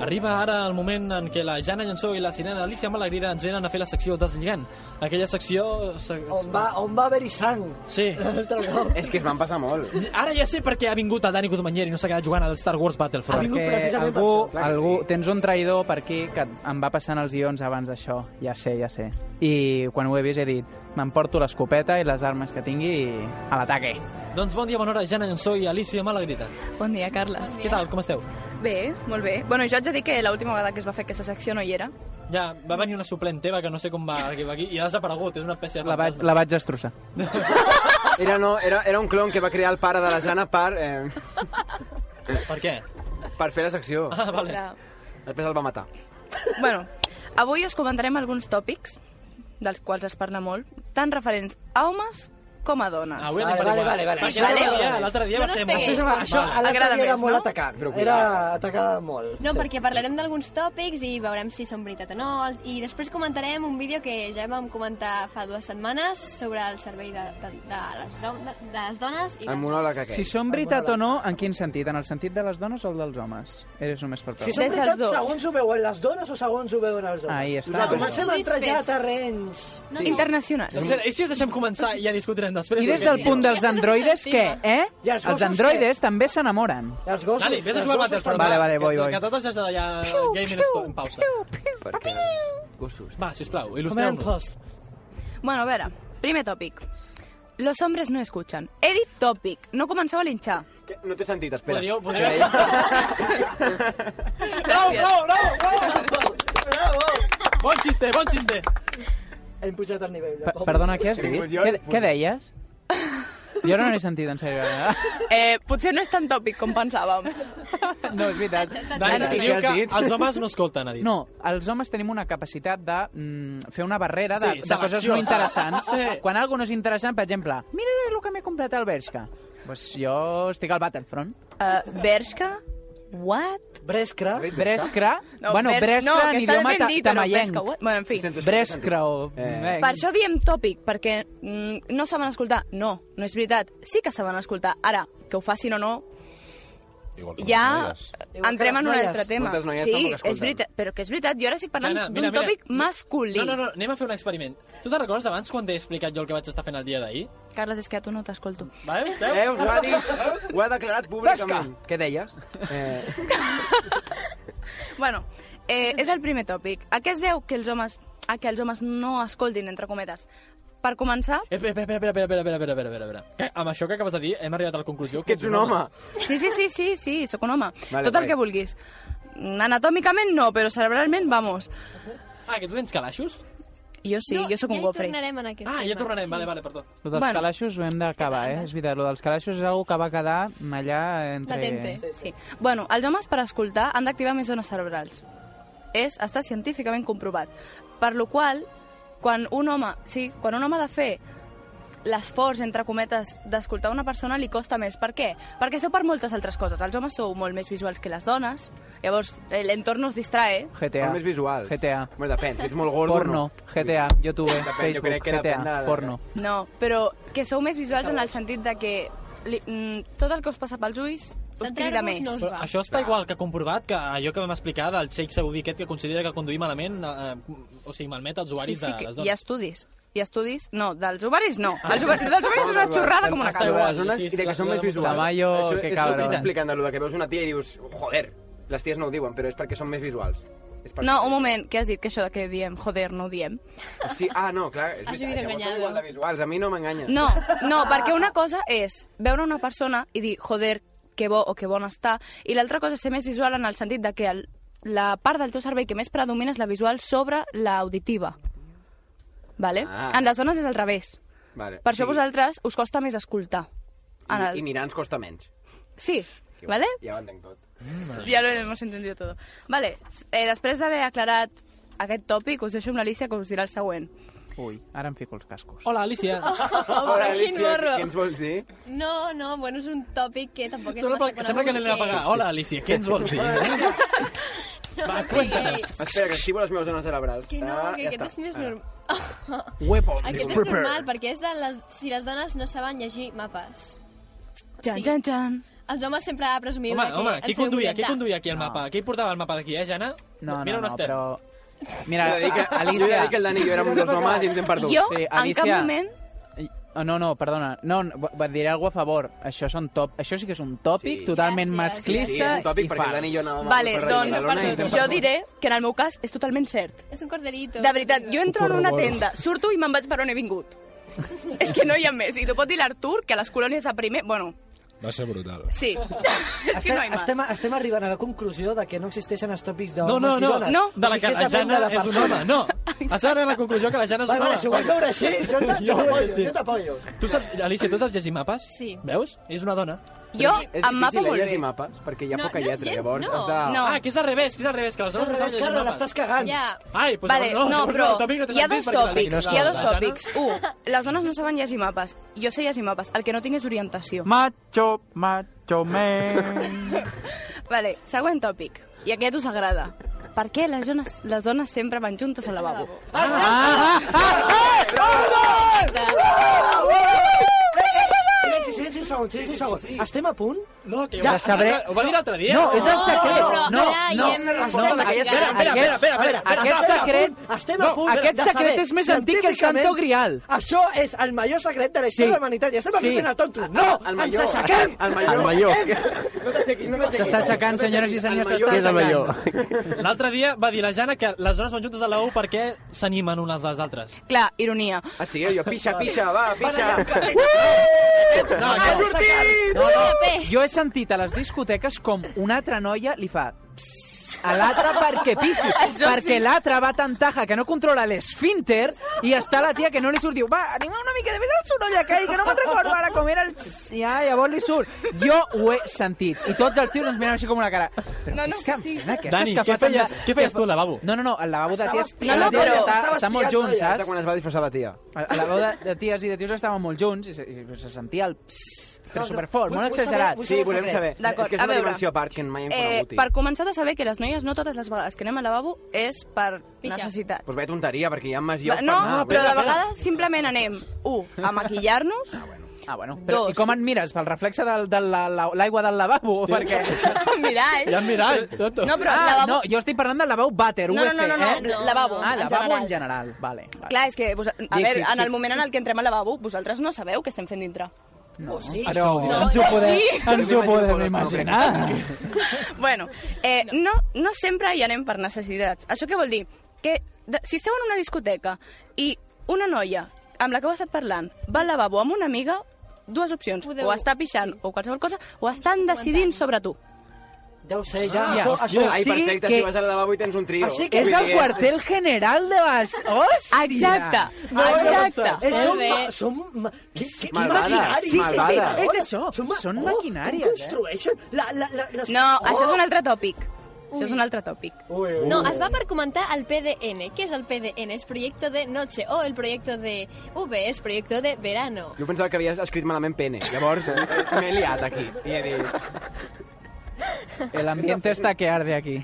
[SPEAKER 3] Arriba ara el moment en què la Jana Llansó i la sirena Alicia Malagrida ens venen a fer la secció Deslligant. Aquella secció... Se... On
[SPEAKER 1] va, on va haver-hi sang.
[SPEAKER 3] Sí.
[SPEAKER 1] [LAUGHS] L'altre cop.
[SPEAKER 10] És que es van passar molt.
[SPEAKER 3] Ara ja sé per què ha vingut el Dani Cotomanyer i no s'ha quedat jugant al Star Wars Battlefront.
[SPEAKER 6] Perquè algú, algú, tens un traïdor per aquí que em va passant els guions abans d'això, ja sé, ja sé. I quan ho he vist he dit, m'emporto l'escopeta i les armes que tingui i a l'ataque.
[SPEAKER 3] Doncs bon dia, bona hora, Jana Llansó i Alicia Malagrida.
[SPEAKER 12] Bon dia, Carles.
[SPEAKER 3] Què tal, com esteu?
[SPEAKER 12] Bé, molt bé. Bueno, jo haig de dir que l'última vegada que es va fer aquesta secció no hi era.
[SPEAKER 3] Ja, va venir una suplent teva que no sé com va arribar aquí i ha desaparegut, és una espècie de...
[SPEAKER 6] La vaig, la vaig destrossar.
[SPEAKER 10] Era, no, era, era un clon que va crear el pare de la Jana per... Eh,
[SPEAKER 3] per què?
[SPEAKER 10] Per fer la secció.
[SPEAKER 3] Ah, vale.
[SPEAKER 12] Clar.
[SPEAKER 10] Després el va matar.
[SPEAKER 12] Bueno, avui us comentarem alguns tòpics dels quals es parla molt, tant referents a homes com a dones.
[SPEAKER 3] Ah, avui anem Vale, per igual. vale, vale, vale.
[SPEAKER 12] Sí,
[SPEAKER 3] Perquè
[SPEAKER 12] vale.
[SPEAKER 3] l'altre dia- l'altre dia
[SPEAKER 12] no
[SPEAKER 3] va ser
[SPEAKER 12] No
[SPEAKER 3] molt-
[SPEAKER 12] us
[SPEAKER 1] Això,
[SPEAKER 12] pegueu.
[SPEAKER 1] això a l'altre
[SPEAKER 12] Agrada
[SPEAKER 1] dia era
[SPEAKER 12] més,
[SPEAKER 1] molt
[SPEAKER 12] no?
[SPEAKER 1] atacant.
[SPEAKER 12] Però
[SPEAKER 1] Era
[SPEAKER 12] cuidat.
[SPEAKER 1] atacada molt.
[SPEAKER 13] No, perquè parlarem d'alguns tòpics i veurem si són veritat o no. Els- I després comentarem un vídeo que ja vam comentar fa dues setmanes sobre el servei de, de, de, les, do- de, de les dones. I dels homes.
[SPEAKER 6] Si són veritat o no, en quin sentit? En el sentit de les dones o el dels homes? Eres només per
[SPEAKER 1] Si són veritat, segons ho veuen les dones o segons ho veuen els homes.
[SPEAKER 6] Ahí està.
[SPEAKER 1] No,
[SPEAKER 6] Nosaltres
[SPEAKER 1] comencem
[SPEAKER 6] no.
[SPEAKER 1] a entrar ja a terrenys.
[SPEAKER 6] No, no. Internacionals.
[SPEAKER 3] Espera, Doncs I si els deixem començar i ja discutirem després?
[SPEAKER 6] I des del punt dels androides, què? Eh?
[SPEAKER 3] I els
[SPEAKER 6] Els
[SPEAKER 3] gossos,
[SPEAKER 6] androides també s'enamoren.
[SPEAKER 1] Els
[SPEAKER 3] Dani, vés a jugar a Battlefront.
[SPEAKER 6] Vale,
[SPEAKER 3] va,
[SPEAKER 6] vale, voy,
[SPEAKER 3] que-
[SPEAKER 6] voy.
[SPEAKER 3] Que tot has d'allà gaming esto en pausa.
[SPEAKER 10] Perquè... Gossos.
[SPEAKER 3] Va, sisplau, il·lustreu-nos.
[SPEAKER 12] Bueno, a veure, primer tòpic. Los hombres no escuchan. He dit tòpic, no comenceu a linxar.
[SPEAKER 10] Que No t'he sentit, espera.
[SPEAKER 3] Podríeu- podríeu-
[SPEAKER 10] Bravo, bravo, bravo,
[SPEAKER 1] bravo, bravo.
[SPEAKER 3] Bon xiste, bon xiste.
[SPEAKER 1] Hem pujat el nivell.
[SPEAKER 6] Per- Perdona, què has dit? Què, què deies? Jo no n'he sentit, en sèrio. eh?
[SPEAKER 12] Eh, potser no és tan tòpic com pensàvem.
[SPEAKER 6] No, és veritat.
[SPEAKER 3] Dani, diu que els homes no escolten, ha dit.
[SPEAKER 6] No, els homes tenim una capacitat de mm, fer una barrera de,
[SPEAKER 3] Sí,
[SPEAKER 6] de coses
[SPEAKER 3] selecció.
[SPEAKER 6] no interessants.
[SPEAKER 3] Sí.
[SPEAKER 6] Quan algo no és interessant, per exemple, mira el que m'he comprat al Bershka. Pues jo estic al Battlefront.
[SPEAKER 12] Uh, Bershka? What?
[SPEAKER 1] Brescra?
[SPEAKER 6] Brescra?
[SPEAKER 12] No,
[SPEAKER 6] bueno,
[SPEAKER 12] Bers-
[SPEAKER 6] Brescra
[SPEAKER 12] no, que
[SPEAKER 6] en
[SPEAKER 12] està
[SPEAKER 6] idioma
[SPEAKER 12] ben
[SPEAKER 6] ta
[SPEAKER 12] dit, però
[SPEAKER 6] tamallenc.
[SPEAKER 12] Bresca, what? Bueno, en fi. Sento, sento,
[SPEAKER 6] Brescra o... Eh.
[SPEAKER 12] Per això diem tòpic, perquè mm, no saben escoltar. No, no és veritat. Sí que saben escoltar. Ara, que ho facin o no,
[SPEAKER 9] Igual que
[SPEAKER 12] ja
[SPEAKER 9] les
[SPEAKER 12] eh,
[SPEAKER 9] noies.
[SPEAKER 12] entrem en un
[SPEAKER 9] Moltes
[SPEAKER 12] altre tema.
[SPEAKER 3] noies
[SPEAKER 12] Sí,
[SPEAKER 3] tampoc escolten.
[SPEAKER 12] és veritat, però que és veritat. Jo ara estic parlant
[SPEAKER 3] Jana, mira,
[SPEAKER 12] d'un
[SPEAKER 3] mira.
[SPEAKER 12] tòpic masculí.
[SPEAKER 3] No, no, no, anem a fer un experiment. Tu te'n recordes abans quan t'he explicat jo el que vaig estar fent el dia d'ahir?
[SPEAKER 12] Carles, és que a tu no t'escolto.
[SPEAKER 3] [LAUGHS]
[SPEAKER 6] Eh,
[SPEAKER 3] Veus?
[SPEAKER 10] Veus, ho ha dit, ho ha declarat públicament. Què deies? Eh,
[SPEAKER 12] Bueno, eh, és el primer tòpic. A què es deu que els homes, a que els homes no escoltin, entre cometes? Per començar...
[SPEAKER 3] Eh, Espera, espera, espera, espera, espera, espera, espera, espera, espera. Eh, Amb això que acabes de dir hem arribat a la conclusió que, ets un home.
[SPEAKER 12] Sí, sí, sí, sí, sí, sóc un home.
[SPEAKER 3] Vale,
[SPEAKER 12] Tot
[SPEAKER 3] vale.
[SPEAKER 12] el que vulguis. Anatòmicament no, però cerebralment, vamos.
[SPEAKER 3] Ah, que tu tens calaixos?
[SPEAKER 12] Jo sí, no, jo sóc un gofre.
[SPEAKER 13] en aquest
[SPEAKER 3] Ah, ja tornarem, vale, vale, perdó.
[SPEAKER 6] Lo dels
[SPEAKER 12] Bueno.
[SPEAKER 6] calaixos ho hem d'acabar, eh? És veritat, lo dels calaixos és algo que va quedar allà entre...
[SPEAKER 12] Sí, sí. Bueno, els homes per escoltar han d'activar més zones cerebrals. És, està científicament comprovat. Per lo qual, quan un home, sí, quan un home ha de fer l'esforç, entre cometes, d'escoltar una persona li costa més. Per què? Perquè sou per moltes altres coses. Els homes sou molt més visuals que les dones, llavors eh, l'entorn us distrae.
[SPEAKER 6] GTA.
[SPEAKER 10] Són més visuals.
[SPEAKER 6] GTA.
[SPEAKER 10] Bueno, depèn, si ets molt gordo
[SPEAKER 6] Porno,
[SPEAKER 10] no.
[SPEAKER 6] GTA, YouTube,
[SPEAKER 10] Depèn, jo
[SPEAKER 6] Facebook,
[SPEAKER 10] crec que
[SPEAKER 6] GTA,
[SPEAKER 10] depèn de- de-
[SPEAKER 6] porno.
[SPEAKER 12] No, però que sou més visuals en el sentit de que li, mm, tot el que us passa pels ulls us crida més.
[SPEAKER 3] Però això està igual que comprovat que allò que vam explicar del xeic saudí aquest que considera que conduir malament, eh, o sigui, malmet els usuaris
[SPEAKER 12] sí, sí,
[SPEAKER 3] de les
[SPEAKER 12] Hi ha
[SPEAKER 3] dones.
[SPEAKER 12] estudis. Hi ha estudis... No, dels ovaris no.
[SPEAKER 6] Ah.
[SPEAKER 12] Ah. Els ovaris, dels ovaris és una xorrada com una
[SPEAKER 10] Està
[SPEAKER 12] casa.
[SPEAKER 10] igual, zones I de que són més visuals.
[SPEAKER 6] Tamayo,
[SPEAKER 10] Això
[SPEAKER 6] que
[SPEAKER 10] és
[SPEAKER 6] cabron.
[SPEAKER 10] És explicant de lo de que veus una tia i dius, joder, les ties no ho diuen, però és perquè són més visuals. És perquè...
[SPEAKER 12] No, un moment, què has dit? Que això de que diem, joder, no ho diem.
[SPEAKER 10] Sí, ah, no, clar, és
[SPEAKER 12] Has
[SPEAKER 10] veritat,
[SPEAKER 12] vivido
[SPEAKER 10] llavors
[SPEAKER 12] engañado.
[SPEAKER 10] són igual de visuals, a mi no m'enganya.
[SPEAKER 12] No, no, perquè una cosa és veure una persona i dir, joder, que bo o que bona està, i l'altra cosa és ser més visual en el sentit de que el, la part del teu cervell que més predomina és la visual sobre la auditiva. Vale?
[SPEAKER 10] Ah.
[SPEAKER 12] En les dones és al revés.
[SPEAKER 10] Vale.
[SPEAKER 12] Per això
[SPEAKER 10] sí,
[SPEAKER 12] vosaltres us costa més escoltar. En
[SPEAKER 10] I,
[SPEAKER 12] el...
[SPEAKER 10] I mirar ens costa menys.
[SPEAKER 12] Sí, vale?
[SPEAKER 10] Ja ho entenc tot.
[SPEAKER 12] [LAUGHS] Ya lo hemos entendido todo. Vale, eh, després d'haver aclarat aquest tòpic, us deixo amb l'Alicia que us dirà el següent.
[SPEAKER 6] Ui, ara em fico els cascos.
[SPEAKER 3] Hola,
[SPEAKER 12] [LAUGHS]
[SPEAKER 3] Alicia.
[SPEAKER 13] Hola, Alicia, quin morro.
[SPEAKER 10] què ens vols dir?
[SPEAKER 13] No, no, bueno, és un tòpic que tampoc és
[SPEAKER 3] Sembla,
[SPEAKER 13] massa
[SPEAKER 3] perquè, sembla que
[SPEAKER 13] conegut,
[SPEAKER 3] l'anem a
[SPEAKER 13] [LAUGHS]
[SPEAKER 3] pagar. Hola, Alicia, què ens vols dir?
[SPEAKER 13] Va,
[SPEAKER 10] Espera, que activo les meves zones cerebrals.
[SPEAKER 13] Que no,
[SPEAKER 10] Ah,
[SPEAKER 13] que
[SPEAKER 10] ja
[SPEAKER 13] aquest
[SPEAKER 10] està.
[SPEAKER 13] és més
[SPEAKER 10] Ara.
[SPEAKER 13] normal.
[SPEAKER 10] Weapon.
[SPEAKER 13] Aquest és normal, perquè és de les... si les dones no saben llegir mapes.
[SPEAKER 12] Jan, jan, jan.
[SPEAKER 13] Els homes sempre presumim
[SPEAKER 3] home,
[SPEAKER 13] que
[SPEAKER 3] home,
[SPEAKER 12] eh,
[SPEAKER 13] ens
[SPEAKER 3] qui
[SPEAKER 13] sabem
[SPEAKER 3] conduïa, qui
[SPEAKER 13] orientar.
[SPEAKER 3] conduïa aquí el mapa? Qui portava el mapa d'aquí, eh, Jana?
[SPEAKER 6] No,
[SPEAKER 3] Mira
[SPEAKER 6] no,
[SPEAKER 3] on
[SPEAKER 6] no,
[SPEAKER 3] estem.
[SPEAKER 6] però... Mira,
[SPEAKER 3] Jo he de dir que-
[SPEAKER 6] Alicia...
[SPEAKER 3] jo he de dir que el Dani i jo érem uns dos homes i ens hem perdut.
[SPEAKER 12] Jo, en cap moment-
[SPEAKER 6] I- oh, No, no, perdona. No, no, va- va- diré alguna a favor. Això, són top... Això sí que és un tòpic
[SPEAKER 10] Sí.
[SPEAKER 6] totalment
[SPEAKER 10] Gràcies. Sí, sí,
[SPEAKER 6] masclista
[SPEAKER 10] és un tòpic
[SPEAKER 6] i
[SPEAKER 10] perquè el
[SPEAKER 6] fals.
[SPEAKER 10] Dani i jo anàvem
[SPEAKER 12] Vale, doncs jo diré que en el meu cas és totalment cert.
[SPEAKER 13] És un corderito.
[SPEAKER 12] De veritat, jo entro en una
[SPEAKER 13] corroboro.
[SPEAKER 12] tenda, surto i me'n vaig per on he vingut. és que no hi ha més. I t'ho pot dir l'Artur, que a les colònies de primer... Bueno,
[SPEAKER 9] Va ser brutal.
[SPEAKER 12] sí. [LAUGHS] és que
[SPEAKER 1] Estem,
[SPEAKER 12] no hi ha
[SPEAKER 1] estem, estem arribant a la conclusió de que no existeixen els tòpics d'homes
[SPEAKER 3] No, no,
[SPEAKER 1] i
[SPEAKER 3] no,
[SPEAKER 1] dones.
[SPEAKER 3] no. De la
[SPEAKER 1] O sigui,
[SPEAKER 3] que
[SPEAKER 1] és
[SPEAKER 3] la
[SPEAKER 1] depèn
[SPEAKER 3] Jana
[SPEAKER 1] de la
[SPEAKER 3] és un
[SPEAKER 1] persona.
[SPEAKER 3] home, no. Has arribat a la conclusió que la Jana és
[SPEAKER 1] Vale,
[SPEAKER 3] un home.
[SPEAKER 1] vale, si ho vols veure així, jo t- jo
[SPEAKER 3] ho
[SPEAKER 1] t'apoyo,
[SPEAKER 3] veig així.
[SPEAKER 1] jo t'apoyo.
[SPEAKER 3] Tu saps, Alicia, tu saps llegir mapes? Sí. Veus? És una dona.
[SPEAKER 12] Jo,
[SPEAKER 10] és
[SPEAKER 12] em mapa
[SPEAKER 10] difícil
[SPEAKER 12] molt
[SPEAKER 10] llegir
[SPEAKER 12] bé.
[SPEAKER 10] mapes, perquè hi ha
[SPEAKER 12] No, no
[SPEAKER 10] poca
[SPEAKER 12] és
[SPEAKER 10] lletra,
[SPEAKER 12] gent,
[SPEAKER 10] llavors
[SPEAKER 12] no.
[SPEAKER 10] has de...
[SPEAKER 12] No.
[SPEAKER 3] Ah, que és al revés, que és al revés, que les dones no saben llegir mapes.
[SPEAKER 13] Ja.
[SPEAKER 3] Ai, doncs
[SPEAKER 12] vale,
[SPEAKER 3] llavors
[SPEAKER 12] no,
[SPEAKER 3] llavors
[SPEAKER 12] però
[SPEAKER 3] el tòpic no té
[SPEAKER 12] hi ha
[SPEAKER 3] sentit
[SPEAKER 12] dos
[SPEAKER 3] perquè la Alicia
[SPEAKER 12] tòpics.
[SPEAKER 3] no
[SPEAKER 12] Hi ha
[SPEAKER 3] la
[SPEAKER 12] dos
[SPEAKER 3] Jana.
[SPEAKER 12] tòpics. Un, les dones no saben llegir mapes. Jo sé llegir mapes. El que no tinc és orientació.
[SPEAKER 6] Macho, macho, man. [LAUGHS]
[SPEAKER 12] Vale, següent tòpic. I aquest us agrada. Per què les dones, les dones sempre van juntes al lavabo?
[SPEAKER 6] Ah!
[SPEAKER 1] Silenci, silenci un segon, silenci un segon. Estem a punt?
[SPEAKER 3] No, que
[SPEAKER 1] ja,
[SPEAKER 3] ho va- ho va dir l'altre dia. No, és el secret. No, no,
[SPEAKER 1] Estem
[SPEAKER 3] no,
[SPEAKER 1] aquí,
[SPEAKER 3] espera, espera, espera, espera,
[SPEAKER 1] a veure,
[SPEAKER 3] espera,
[SPEAKER 1] estem
[SPEAKER 3] aquest
[SPEAKER 1] a punt,
[SPEAKER 3] secret-
[SPEAKER 1] Estem a
[SPEAKER 3] no,
[SPEAKER 1] punt
[SPEAKER 3] aquest
[SPEAKER 1] de
[SPEAKER 3] secret
[SPEAKER 1] saber
[SPEAKER 3] és més antic que el
[SPEAKER 1] científicament-
[SPEAKER 3] Santo Grial.
[SPEAKER 1] Això és el major secret de la història
[SPEAKER 3] Sí.
[SPEAKER 1] de la humanitat. I estem aquí
[SPEAKER 3] Sí.
[SPEAKER 1] fent el tonto. No,
[SPEAKER 3] El
[SPEAKER 1] ens
[SPEAKER 3] major.
[SPEAKER 1] aixequem!
[SPEAKER 3] El major. El major.
[SPEAKER 10] No t'aixequis, no t'aixequis.
[SPEAKER 6] S'està aixecant, senyores i senyors, s'està
[SPEAKER 3] Què és el
[SPEAKER 6] aixecant.
[SPEAKER 3] L'altre dia va dir la Jana que les dones van juntes a la U perquè s'animen unes a les altres.
[SPEAKER 12] Clar, ironia.
[SPEAKER 10] Ah, sí, jo, pixa, pixa, va,
[SPEAKER 3] Van allà,
[SPEAKER 10] pixa.
[SPEAKER 3] que-
[SPEAKER 10] Uh!
[SPEAKER 3] No, no,
[SPEAKER 13] sentit! No, no.
[SPEAKER 6] Jo he sentit a les discoteques com una altra noia li fa "Psst", a l'altra perquè pissi,
[SPEAKER 2] Això
[SPEAKER 6] perquè
[SPEAKER 2] sí.
[SPEAKER 6] l'altra va tan taja que no controla l'esfínter i està la tia que no li surt, diu, va, anima una mica de més el soroll aquell, que no me'n recordo ara com era el... psst", I ah, llavors li surt. Jo ho he sentit. I tots els tios ens miren així com una cara. Però no, no, què estan fent aquestes
[SPEAKER 3] Dani,
[SPEAKER 6] que
[SPEAKER 3] què
[SPEAKER 6] fa tant de-
[SPEAKER 3] feies, què feies
[SPEAKER 6] que fa-
[SPEAKER 3] tu al lavabo?
[SPEAKER 6] No, no, no, al lavabo de ties...
[SPEAKER 3] Estaves
[SPEAKER 6] la tia
[SPEAKER 3] tirant,
[SPEAKER 6] està,
[SPEAKER 3] estaves
[SPEAKER 6] està molt
[SPEAKER 3] tirant,
[SPEAKER 6] junts,
[SPEAKER 3] noia.
[SPEAKER 6] saps?
[SPEAKER 10] Quan es va disfressar la tia.
[SPEAKER 6] A la veu de, de ties i de tios estàvem molt junts i se, i se sentia el psss, però superfort, molt exagerat.
[SPEAKER 10] Sí, volem saber.
[SPEAKER 12] D'acord,
[SPEAKER 10] és que és
[SPEAKER 12] a
[SPEAKER 10] una
[SPEAKER 12] veure.
[SPEAKER 10] dimensió a part que mai hem
[SPEAKER 12] Eh,
[SPEAKER 10] conegut.
[SPEAKER 12] per començar a saber que les noies no totes les vegades que anem al lavabo és per necessitat.
[SPEAKER 10] Doncs vaya tonteria, perquè hi ha més
[SPEAKER 12] Va,
[SPEAKER 10] llocs
[SPEAKER 12] no,
[SPEAKER 10] per
[SPEAKER 6] Ah,
[SPEAKER 10] anar.
[SPEAKER 12] però de vegades simplement anem, un, a maquillar-nos, [LAUGHS]
[SPEAKER 6] Ah, bueno. Però,
[SPEAKER 12] Dos.
[SPEAKER 6] I com et mires? Pel reflexe del, de la- la- l'aigua del lavabo? Sí. Perquè...
[SPEAKER 12] al mirall. No, però
[SPEAKER 6] ah,
[SPEAKER 12] lavabo...
[SPEAKER 6] no, jo estic parlant del lavabo vàter,
[SPEAKER 12] No, no,
[SPEAKER 6] UFC,
[SPEAKER 12] no, no,
[SPEAKER 6] eh?
[SPEAKER 12] no, lavabo,
[SPEAKER 6] Ah,
[SPEAKER 12] en
[SPEAKER 6] lavabo en
[SPEAKER 12] general.
[SPEAKER 6] general, vale. vale.
[SPEAKER 12] Clar, és que, vos, a
[SPEAKER 6] Sí,
[SPEAKER 12] veure,
[SPEAKER 6] sí,
[SPEAKER 12] en
[SPEAKER 6] sí.
[SPEAKER 12] el moment en el que entrem al lavabo, vosaltres no sabeu què estem fent dintre.
[SPEAKER 1] Oh,
[SPEAKER 6] No,
[SPEAKER 12] sí.
[SPEAKER 6] Però
[SPEAKER 12] No,
[SPEAKER 6] ens ho
[SPEAKER 12] no,
[SPEAKER 6] podem,
[SPEAKER 12] sí.
[SPEAKER 6] ens ho podem imaginar.
[SPEAKER 12] bueno, eh, no, no sempre hi anem per necessitats. Això què vol dir? Que de, si esteu en una discoteca i una noia amb la que heu estat parlant va al lavabo amb una amiga, dues opcions,
[SPEAKER 13] Podeu-
[SPEAKER 12] o està pixant o qualsevol cosa, o estan decidint sobre tu.
[SPEAKER 1] Ja ho sé,
[SPEAKER 10] Ja,
[SPEAKER 1] ja.
[SPEAKER 10] ah,
[SPEAKER 1] això, això,
[SPEAKER 10] Ai,
[SPEAKER 1] sí
[SPEAKER 10] perfecte,
[SPEAKER 1] que-
[SPEAKER 10] si vas al lavabo i tens un trio.
[SPEAKER 1] Així
[SPEAKER 6] És el quartel general de Oh, les... Hòstia!
[SPEAKER 12] Exacte,
[SPEAKER 1] No,
[SPEAKER 6] exacte.
[SPEAKER 1] Eh,
[SPEAKER 6] Molt
[SPEAKER 1] som,
[SPEAKER 6] bé.
[SPEAKER 1] ma- som, ma- qui, qui, qui
[SPEAKER 6] Malvades,
[SPEAKER 1] maquinari?
[SPEAKER 6] Sí, sí, sí,
[SPEAKER 1] malvades.
[SPEAKER 6] és això,
[SPEAKER 1] Som, ma-
[SPEAKER 6] són
[SPEAKER 1] oh,
[SPEAKER 6] maquinàries,
[SPEAKER 1] Com
[SPEAKER 6] eh?
[SPEAKER 1] construeixen? La, la, la, les... Oh!
[SPEAKER 12] No, això és un altre tòpic. Això és un altre tòpic.
[SPEAKER 13] No, es va per comentar el PDN. ¿Qué es el PDN? Es proyecto de noche o el proyecto de V es proyecto de verano.
[SPEAKER 10] Jo pensava que havies escrit malament pene. Llavors, eh, m'he liat aquí. I he dit...
[SPEAKER 6] El ambiente está que arde aquí.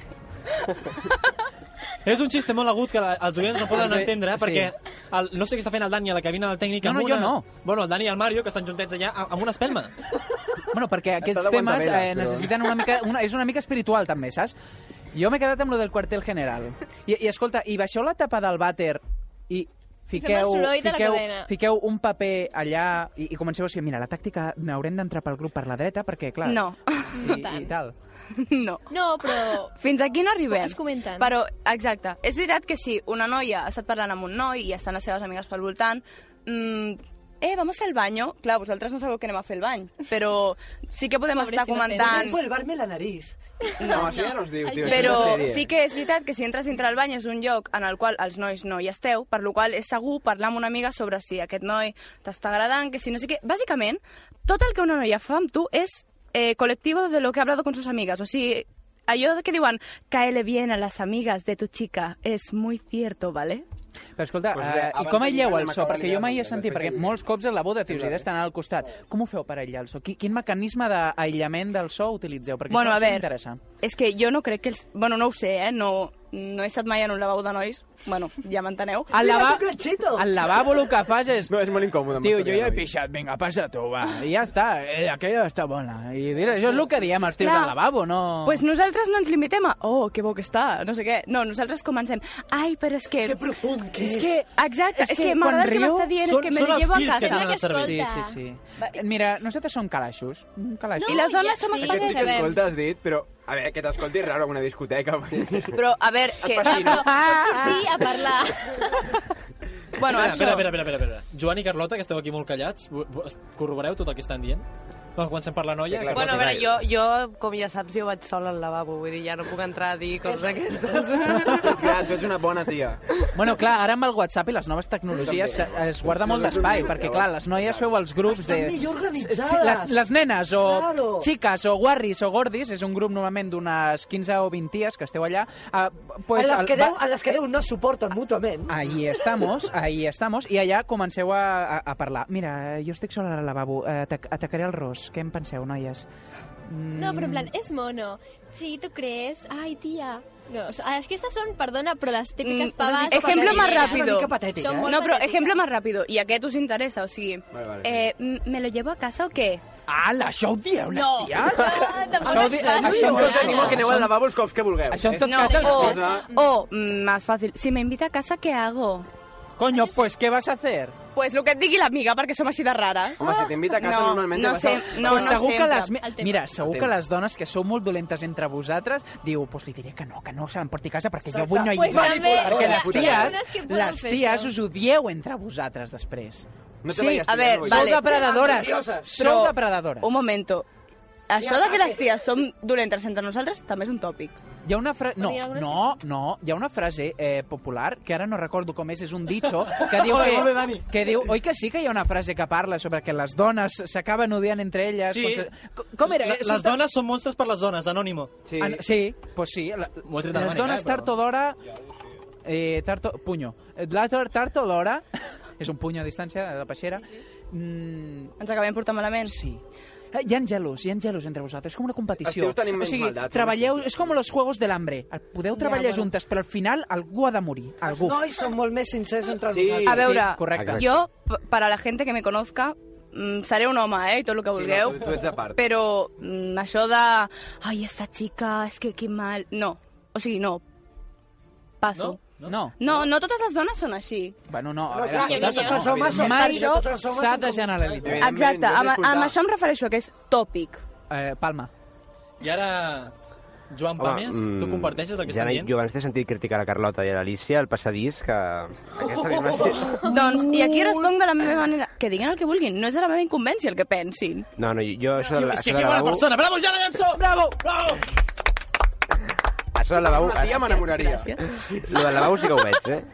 [SPEAKER 3] És un xiste molt agut que la, els oients no poden
[SPEAKER 6] Sí,
[SPEAKER 3] entendre,
[SPEAKER 6] sí.
[SPEAKER 3] perquè el, no sé què està fent el Dani a la cabina del tècnic.
[SPEAKER 6] No,
[SPEAKER 3] amb
[SPEAKER 6] no,
[SPEAKER 3] una...
[SPEAKER 6] jo no.
[SPEAKER 3] Bueno, el Dani i el Mario, que estan juntets allà, a- amb una espelma.
[SPEAKER 6] Bueno,
[SPEAKER 3] Està
[SPEAKER 6] perquè aquests
[SPEAKER 3] de
[SPEAKER 6] temes
[SPEAKER 3] guantavella,
[SPEAKER 6] eh,
[SPEAKER 3] però-
[SPEAKER 6] necessiten una mica... Una, és una mica espiritual, també, saps? Jo m'he quedat amb lo del quartel general. I, i escolta, i baixeu la tapa del vàter i
[SPEAKER 13] fem el
[SPEAKER 6] fiqueu,
[SPEAKER 13] soroll de la
[SPEAKER 6] fiqueu,
[SPEAKER 13] cadena.
[SPEAKER 6] fiqueu un paper allà i, i comenceu a dir, mira, la tàctica n'haurem d'entrar pel grup per la dreta perquè, clar...
[SPEAKER 12] No.
[SPEAKER 6] I, i tal.
[SPEAKER 12] No.
[SPEAKER 13] No, però...
[SPEAKER 12] Fins aquí no arribem.
[SPEAKER 13] Es comenten.
[SPEAKER 12] Però, exacte, és veritat que si una noia ha estat parlant amb un noi i estan les seves amigues pel voltant, mm, eh, vamos al baño. Clar, vosaltres no sabeu que anem a fer el bany, però sí que podem
[SPEAKER 13] Pobrecita
[SPEAKER 12] estar comentant...
[SPEAKER 13] Fernanda.
[SPEAKER 1] Polvarme la nariz.
[SPEAKER 10] No, això ja no es diu, tio.
[SPEAKER 12] Però sí que és veritat que si entres dintre el bany és un lloc en el qual els nois no hi esteu, per lo qual és segur parlar amb una amiga sobre si aquest noi t'està agradant, que si no sé què... Bàsicament, tot el que una noia fa amb tu és eh, colectivo de lo que ha hablado con sus amigas. O sigui, allò que diuen, caele bien a las amigas de tu chica, és muy cierto, ¿vale?
[SPEAKER 6] Però escolta,
[SPEAKER 12] Pues
[SPEAKER 6] pues
[SPEAKER 12] bé,
[SPEAKER 6] eh, i
[SPEAKER 12] abans
[SPEAKER 6] com
[SPEAKER 12] de
[SPEAKER 6] aïlleu
[SPEAKER 12] lligar
[SPEAKER 6] el
[SPEAKER 12] no
[SPEAKER 6] so?
[SPEAKER 12] m'acabo
[SPEAKER 6] Perquè
[SPEAKER 12] de
[SPEAKER 6] jo
[SPEAKER 12] lligar,
[SPEAKER 6] mai he sentit, perquè molts cops a la boda dius, i estan al costat. Com ho feu per aïllar el so? Qui- Quin mecanisme d'aïllament del so utilitzeu? Perquè
[SPEAKER 12] Bueno,
[SPEAKER 6] això
[SPEAKER 12] a
[SPEAKER 6] ens
[SPEAKER 12] veure.
[SPEAKER 6] interessa.
[SPEAKER 12] És que jo no crec que... Els... Bueno, no ho sé, eh? No, no he estat mai en un lavabo de nois. Bueno, ja m'enteneu.
[SPEAKER 6] Al, lava... al lavabo el que fas és...
[SPEAKER 10] No, és molt incòmode.
[SPEAKER 6] Tio, jo ja he pixat, vinga, passa tu, va. I ja està, eh, aquella està bona. I dir, això és el que diem els tios
[SPEAKER 12] Clar.
[SPEAKER 6] al lavabo, no...
[SPEAKER 12] Pues nosaltres no ens limitem a oh, que bo que està, no sé què. No, nosaltres comencem. Ai, però és que... Que
[SPEAKER 1] profund que
[SPEAKER 12] és. que, exacte, és, que, m'agrada el que m'està dient, és que me lo llevo a casa.
[SPEAKER 6] Sí, sí, sí. Mira, nosaltres som calaixos. un Calaix.
[SPEAKER 12] No, I les dones ja som sí,
[SPEAKER 10] Aquest sí que
[SPEAKER 12] espaguets.
[SPEAKER 10] escolta, has dit, però... A veure, que t'escolti és raro en una discoteca.
[SPEAKER 12] Però, a veure, que...
[SPEAKER 10] fascina.
[SPEAKER 12] Ah.
[SPEAKER 13] Pots sortir a
[SPEAKER 12] [LAUGHS]
[SPEAKER 13] parlar.
[SPEAKER 12] Bueno,
[SPEAKER 3] espera,
[SPEAKER 12] això...
[SPEAKER 3] Espera, espera, espera, espera. Joan i Carlota, que esteu aquí molt callats, vo- vo- corroboreu tot el que estan dient? Bueno, comencem per la noia.
[SPEAKER 14] Bueno, a veure, jo, jo, com ja saps, jo vaig sola al lavabo, vull dir, ja no puc entrar a dir coses aquestes.
[SPEAKER 10] Ets gran, tu ets una bona tia.
[SPEAKER 6] Bueno, clar, ara amb el WhatsApp i les noves tecnologies se- es guarda molt d'espai, perquè, clar, les noies feu els grups de...
[SPEAKER 1] Estan millor organitzades.
[SPEAKER 6] Sí, Les, les nenes o
[SPEAKER 1] Claro.
[SPEAKER 6] xiques o guarris o gordis, és un grup normalment d'unes 15 o 20 ties que esteu allà. Uh, pues,
[SPEAKER 1] Pues en les que
[SPEAKER 6] el- va-
[SPEAKER 1] deu, en les que deu no es suporten mútuament.
[SPEAKER 6] Ahí estamos, ahí estamos, i allà comenceu a, a, a parlar. Mira, jo estic sola al lavabo, eh, atac atacaré el ros, què en penseu, noies? Mm,
[SPEAKER 13] No, però en plan, és mono. Sí, tu crees? Ai, tia. No, ah, o sea, aquestes són, perdona, però les típiques
[SPEAKER 12] Mm,
[SPEAKER 13] pavas...
[SPEAKER 12] ejemplo más
[SPEAKER 13] patatilleras.
[SPEAKER 12] rápido.
[SPEAKER 13] Són molt
[SPEAKER 12] eh? no, però
[SPEAKER 13] patètiques.
[SPEAKER 12] ejemplo más rápido. I aquest us interessa, o sigui...
[SPEAKER 6] Vale, vale,
[SPEAKER 12] eh, m- ¿Me lo llevo a casa o què?
[SPEAKER 6] Ala, això ho dieu, les
[SPEAKER 12] No.
[SPEAKER 6] ties?
[SPEAKER 12] Ah, tampoc
[SPEAKER 6] Això ho di-
[SPEAKER 12] es faci,
[SPEAKER 6] això ho
[SPEAKER 10] Jo us
[SPEAKER 6] dieu.
[SPEAKER 10] animo que aneu al lavabo els cops que vulgueu.
[SPEAKER 6] Això en tot
[SPEAKER 10] És-
[SPEAKER 6] cas és-
[SPEAKER 12] O,
[SPEAKER 6] Cosa-
[SPEAKER 12] o mm, más fácil, si me invita a casa, ¿qué hago?
[SPEAKER 6] Coño, pues, ¿qué vas a hacer?
[SPEAKER 12] Pues lo que et [LAUGHS] digui l'amiga, perquè som així de rares.
[SPEAKER 6] Home, si t'invita a casa,
[SPEAKER 12] no,
[SPEAKER 6] normalment
[SPEAKER 12] no
[SPEAKER 6] vas
[SPEAKER 12] sé,
[SPEAKER 6] a-
[SPEAKER 12] no,
[SPEAKER 6] Pues
[SPEAKER 12] no
[SPEAKER 6] segur que
[SPEAKER 12] sempre.
[SPEAKER 6] les... mi-
[SPEAKER 12] El tema.
[SPEAKER 6] Mira, segur
[SPEAKER 12] El
[SPEAKER 6] que
[SPEAKER 12] tema.
[SPEAKER 6] les dones que sou molt dolentes entre vosaltres diu, pues li diré que no, que no se l'emporti a casa perquè jo
[SPEAKER 12] Exacte.
[SPEAKER 6] vull no hi
[SPEAKER 12] Pues
[SPEAKER 6] va.
[SPEAKER 12] també,
[SPEAKER 6] Perquè
[SPEAKER 12] hi ha
[SPEAKER 6] les ties,
[SPEAKER 12] persones que poden
[SPEAKER 6] les
[SPEAKER 12] fer
[SPEAKER 6] ties
[SPEAKER 12] això.
[SPEAKER 6] us odieu entre vosaltres després.
[SPEAKER 10] No te
[SPEAKER 6] sí,
[SPEAKER 10] vayas,
[SPEAKER 6] a
[SPEAKER 10] tia,
[SPEAKER 6] ver,
[SPEAKER 10] no vull.
[SPEAKER 6] sou depredadoras. Sou
[SPEAKER 12] Però,
[SPEAKER 6] depredadoras.
[SPEAKER 12] Un momento. Això
[SPEAKER 6] Ja,
[SPEAKER 12] de que les ties som dolentes entre nosaltres també és un tòpic.
[SPEAKER 6] Hi ha una frase... No,
[SPEAKER 12] Hi ha algunes
[SPEAKER 6] no, no. Hi ha una frase eh, popular, que ara no recordo com és, és un dicho, que diu
[SPEAKER 3] Molt bé, molt bé,
[SPEAKER 6] que,
[SPEAKER 3] Dani.
[SPEAKER 6] que diu... Oi que sí que hi ha una frase que parla sobre que les dones s'acaben odiant entre elles?
[SPEAKER 3] Sí.
[SPEAKER 6] potser- Co- Com era?
[SPEAKER 3] Les,
[SPEAKER 6] Eh,
[SPEAKER 3] les
[SPEAKER 6] sota-
[SPEAKER 3] dones són monstres per les dones, anònimo. Sí.
[SPEAKER 6] Ah, sí, pues sí. La,
[SPEAKER 3] tret
[SPEAKER 6] les
[SPEAKER 3] Dani,
[SPEAKER 6] dones
[SPEAKER 3] eh, però-
[SPEAKER 6] tard o d'hora... Eh, tard o... Punyo. La tard tard o d'hora... [LAUGHS] és un puny a distància de la peixera. Mm,
[SPEAKER 12] Ens acabem portant malament.
[SPEAKER 6] Sí. Eh, Hi ha gelos, hi ha gelos entre vosaltres, és com una competició.
[SPEAKER 10] Els tios tenim
[SPEAKER 6] o
[SPEAKER 10] menys
[SPEAKER 6] sigui,
[SPEAKER 10] maldats,
[SPEAKER 6] treballeu, és com els juegos de l'hambre. Podeu treballar
[SPEAKER 1] bueno.
[SPEAKER 6] juntes, però al final algú ha de morir.
[SPEAKER 1] Els
[SPEAKER 6] Algú.
[SPEAKER 1] nois són molt més sincers entre
[SPEAKER 6] Sí.
[SPEAKER 1] nosaltres.
[SPEAKER 12] A veure,
[SPEAKER 6] Sí, correcte.
[SPEAKER 12] jo, p- para la gente que me conozca, mm, seré un home, eh, i tot el que
[SPEAKER 10] Sí, no,
[SPEAKER 12] vulgueu,
[SPEAKER 10] tu- tu ets a part.
[SPEAKER 12] però mm, això de... Ai, esta chica, és que quin mal... No, o sigui, no. Passo.
[SPEAKER 6] No? No.
[SPEAKER 12] No, no totes les dones són així.
[SPEAKER 6] Bueno, no,
[SPEAKER 12] No,
[SPEAKER 6] a
[SPEAKER 12] clar,
[SPEAKER 6] veure,
[SPEAKER 12] tots
[SPEAKER 6] no,
[SPEAKER 12] els homes
[SPEAKER 6] no,
[SPEAKER 12] són-
[SPEAKER 6] mai
[SPEAKER 12] tots els homes
[SPEAKER 6] s'ha
[SPEAKER 12] són
[SPEAKER 6] de
[SPEAKER 12] com-
[SPEAKER 6] generalitzar.
[SPEAKER 12] Exacte, amb, amb això em refereixo, que és tòpic.
[SPEAKER 6] Eh, Palma.
[SPEAKER 3] I ara, Joan Pàmies, tu comparteixes el que
[SPEAKER 5] Mm. ja
[SPEAKER 3] estan dient?
[SPEAKER 5] Jo abans t'he sentit criticar la Carlota i l'Alicia al passadís, que aquesta afirmació...
[SPEAKER 12] Doncs, i aquí responc de la meva manera. Que diguin el que vulguin, no és de la meva incumbència el que pensin.
[SPEAKER 5] No, no, jo això de, la-
[SPEAKER 3] És
[SPEAKER 5] això
[SPEAKER 3] que
[SPEAKER 5] de
[SPEAKER 3] que bona
[SPEAKER 5] lavabo...
[SPEAKER 3] persona! Bravo, Jana Llençó!
[SPEAKER 12] Bravo!
[SPEAKER 3] Bravo!
[SPEAKER 5] Això del lavabo...
[SPEAKER 3] Gràcies,
[SPEAKER 5] Ja m'enamoraria.
[SPEAKER 3] gràcies.
[SPEAKER 5] Lo del lavabo sí que ho veig, eh?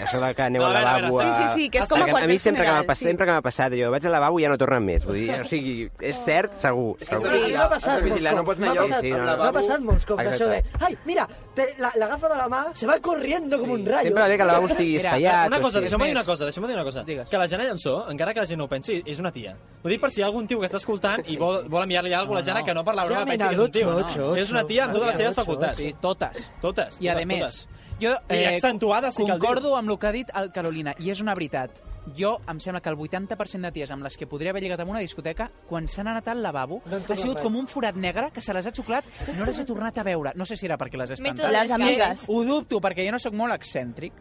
[SPEAKER 5] Això de que aneu
[SPEAKER 3] No,
[SPEAKER 5] al
[SPEAKER 3] a veure, a
[SPEAKER 5] lavabo...
[SPEAKER 3] veure,
[SPEAKER 12] sí,
[SPEAKER 5] a-
[SPEAKER 12] sí, sí, que és com a
[SPEAKER 5] Perquè A mi
[SPEAKER 12] quartel
[SPEAKER 5] sempre que m'ha
[SPEAKER 12] general,
[SPEAKER 5] pas-
[SPEAKER 12] sí.
[SPEAKER 5] sempre que m'ha passat, jo vaig al lavabo i ja no tornen més. Vull dir, o sigui, és cert, segur.
[SPEAKER 1] Sí,
[SPEAKER 5] segur.
[SPEAKER 1] m'ha passat
[SPEAKER 5] Has de
[SPEAKER 1] molts
[SPEAKER 5] vigilar,
[SPEAKER 1] cops.
[SPEAKER 5] no pots anar
[SPEAKER 1] m'ha
[SPEAKER 5] allò-
[SPEAKER 1] passat,
[SPEAKER 5] sí, no,
[SPEAKER 1] m'ha
[SPEAKER 5] al lavabo.
[SPEAKER 1] passat molts cops,
[SPEAKER 5] Exacte.
[SPEAKER 1] això de... Ai, mira, te, la- l'agafa de la mà, se va corriendo com un rayo.
[SPEAKER 5] sempre ve que el lavabo estigui
[SPEAKER 3] Mira,
[SPEAKER 5] espaiat,
[SPEAKER 3] Una
[SPEAKER 5] o
[SPEAKER 3] cosa,
[SPEAKER 5] sigui-
[SPEAKER 3] deixa'm dir una
[SPEAKER 5] Més.
[SPEAKER 3] cosa, deixa'm dir una cosa. Que la Jana Llençó, encara que la gent no ho pensi, és una tia. Ho dic per si hi ha algun tio que està escoltant i vol, vol enviar-li alguna cosa a la Jana que no per la broma
[SPEAKER 6] Ja,
[SPEAKER 3] pensi
[SPEAKER 6] mira,
[SPEAKER 3] que és un tio.
[SPEAKER 6] l'ocho,
[SPEAKER 3] no?
[SPEAKER 6] ocho,
[SPEAKER 3] És una tia amb
[SPEAKER 6] ocho,
[SPEAKER 3] totes les seves
[SPEAKER 6] ocho,
[SPEAKER 3] facultats.
[SPEAKER 6] Sí, totes.
[SPEAKER 3] Totes.
[SPEAKER 6] I a
[SPEAKER 3] totes,
[SPEAKER 6] més,
[SPEAKER 3] totes.
[SPEAKER 6] jo eh,
[SPEAKER 3] I accentuades sí que cal dir-ho.
[SPEAKER 6] concordo amb el que ha dit el Carolina, i és una veritat. Jo em sembla que el 80% de ties amb les que podria haver lligat en una discoteca, quan s'han anat al lavabo, ha
[SPEAKER 1] tornen
[SPEAKER 6] sigut
[SPEAKER 1] res.
[SPEAKER 6] com un forat negre que se les ha xuclat i no les he tornat a veure. No sé si era perquè les he
[SPEAKER 12] Método
[SPEAKER 6] espantat.
[SPEAKER 12] Les amigues.
[SPEAKER 6] Ho dubto, perquè jo no sóc molt excèntric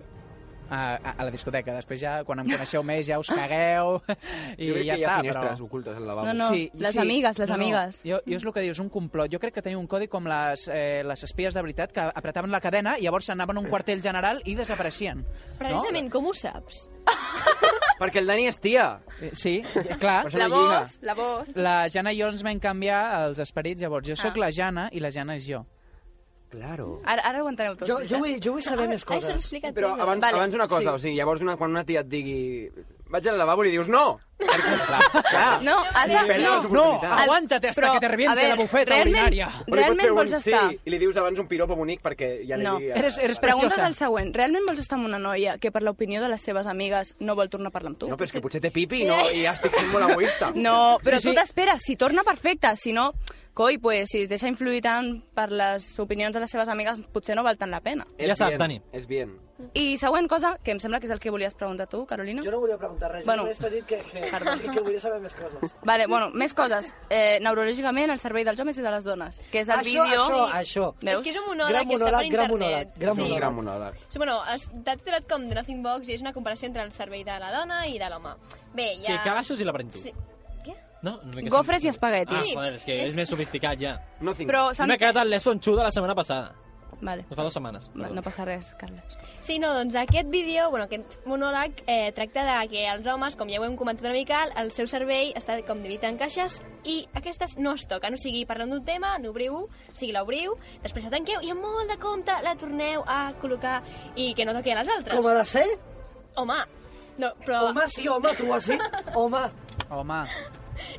[SPEAKER 6] a, a, a la discoteca. Després ja, quan em coneixeu més, ja us cagueu [LAUGHS] i
[SPEAKER 10] Jo crec
[SPEAKER 6] ja
[SPEAKER 10] que hi ha
[SPEAKER 6] està.
[SPEAKER 10] finestres
[SPEAKER 6] però...
[SPEAKER 10] ocultes al
[SPEAKER 12] No,
[SPEAKER 10] lavabo.
[SPEAKER 12] no, les amigues, les amigues.
[SPEAKER 6] Jo, jo és el que dius, un complot. Jo crec que teniu un codi com les, eh, les espies de veritat que apretaven la cadena i llavors anaven a un quartell general i desapareixien.
[SPEAKER 13] Precisament, com ho saps?
[SPEAKER 6] Perquè el Dani és tia. eh, Sí, clar.
[SPEAKER 12] La voz, la voz.
[SPEAKER 6] La Jana i jo ens vam canviar els esperits, llavors jo sóc
[SPEAKER 12] Ah.
[SPEAKER 6] la Jana i la Jana és jo.
[SPEAKER 5] Claro.
[SPEAKER 12] Ara, ara ho enteneu tot. Ah,
[SPEAKER 1] Jo, jo, vull, jo vull saber més
[SPEAKER 12] Això
[SPEAKER 1] coses.
[SPEAKER 12] explica
[SPEAKER 10] Però
[SPEAKER 12] tot.
[SPEAKER 10] abans,
[SPEAKER 12] Mm, Vale.
[SPEAKER 10] abans una cosa, o sigui, llavors una, quan una tia et digui vaig al lavabo i li dius no! Perquè, clar, clar,
[SPEAKER 12] No, has de...
[SPEAKER 10] Perds les oportunitats.
[SPEAKER 6] aguántate hasta que te reviente la bufeta urinaria.
[SPEAKER 10] Però li pots
[SPEAKER 12] Realment
[SPEAKER 10] fer un
[SPEAKER 12] vols estar...
[SPEAKER 10] Sí, i li dius abans un piropo bonic perquè ja li
[SPEAKER 12] No,
[SPEAKER 10] digui...
[SPEAKER 12] Pregunta't el següent. Realment vols estar amb una noia que per l'opinió de les seves amigues no vol tornar a parlar amb tu?
[SPEAKER 10] No, però és que potser té pipi no, i ja estic sent molt egoista.
[SPEAKER 12] [LAUGHS] No, però tu t'esperes, si torna perfecte, si no, coi, pues, si es deixa influir tant per les opinions de les seves amigues, potser no val tant la pena.
[SPEAKER 10] És
[SPEAKER 3] Ja saps,
[SPEAKER 10] bien,
[SPEAKER 3] Dani.
[SPEAKER 10] És bien.
[SPEAKER 12] I següent cosa, que em sembla que és el que volies preguntar tu, Carolina.
[SPEAKER 1] Jo no volia preguntar res,
[SPEAKER 12] Bueno.
[SPEAKER 1] bueno. només t'he dit que, que,
[SPEAKER 12] Perdó.
[SPEAKER 1] que volia saber més
[SPEAKER 12] [LAUGHS]
[SPEAKER 1] coses.
[SPEAKER 12] Vale, bueno, més coses. Eh, neurològicament, el servei dels homes i de les dones, que és el
[SPEAKER 1] Això,
[SPEAKER 12] vídeo...
[SPEAKER 1] això, això.
[SPEAKER 12] Veus?
[SPEAKER 13] És que és un monòleg
[SPEAKER 1] Gran
[SPEAKER 13] que està per
[SPEAKER 1] monòleg, gran
[SPEAKER 13] internet.
[SPEAKER 1] monòleg, gran monòleg.
[SPEAKER 10] Gran monòleg.
[SPEAKER 13] Sí, bueno, es- t'ha titulat com The Nothing Box i és una comparació entre el servei de la dona i de l'home. Bé, ja...
[SPEAKER 3] Sí, calaixos i l'aparento.
[SPEAKER 13] Sí.
[SPEAKER 3] No? Una mica
[SPEAKER 12] Gofres
[SPEAKER 3] sí.
[SPEAKER 12] i espaguetis.
[SPEAKER 3] Ah,
[SPEAKER 12] Sí,
[SPEAKER 3] joder, és que és,
[SPEAKER 12] és-
[SPEAKER 3] més sofisticat ja.
[SPEAKER 10] No
[SPEAKER 12] Però s'han-
[SPEAKER 3] M'he quedat el lesson xu de la setmana passada.
[SPEAKER 12] Vale.
[SPEAKER 3] De fa dues setmanes.
[SPEAKER 12] Va, No passa res, Carles.
[SPEAKER 13] Sí, no, doncs aquest vídeo, bueno, aquest monòleg eh, tracta de que els homes, com ja ho hem comentat una mica, el seu cervell està com dividit en caixes i aquestes no es toquen, o sigui, parlem d'un tema, n'obriu, o sigui, l'obriu, després la tanqueu i amb molt de compte la torneu a col·locar i que no toqui a les altres.
[SPEAKER 1] Com ha de ser?
[SPEAKER 13] Home, no, però...
[SPEAKER 1] Home, sí, home, tu ho has dit. Home,
[SPEAKER 6] Home.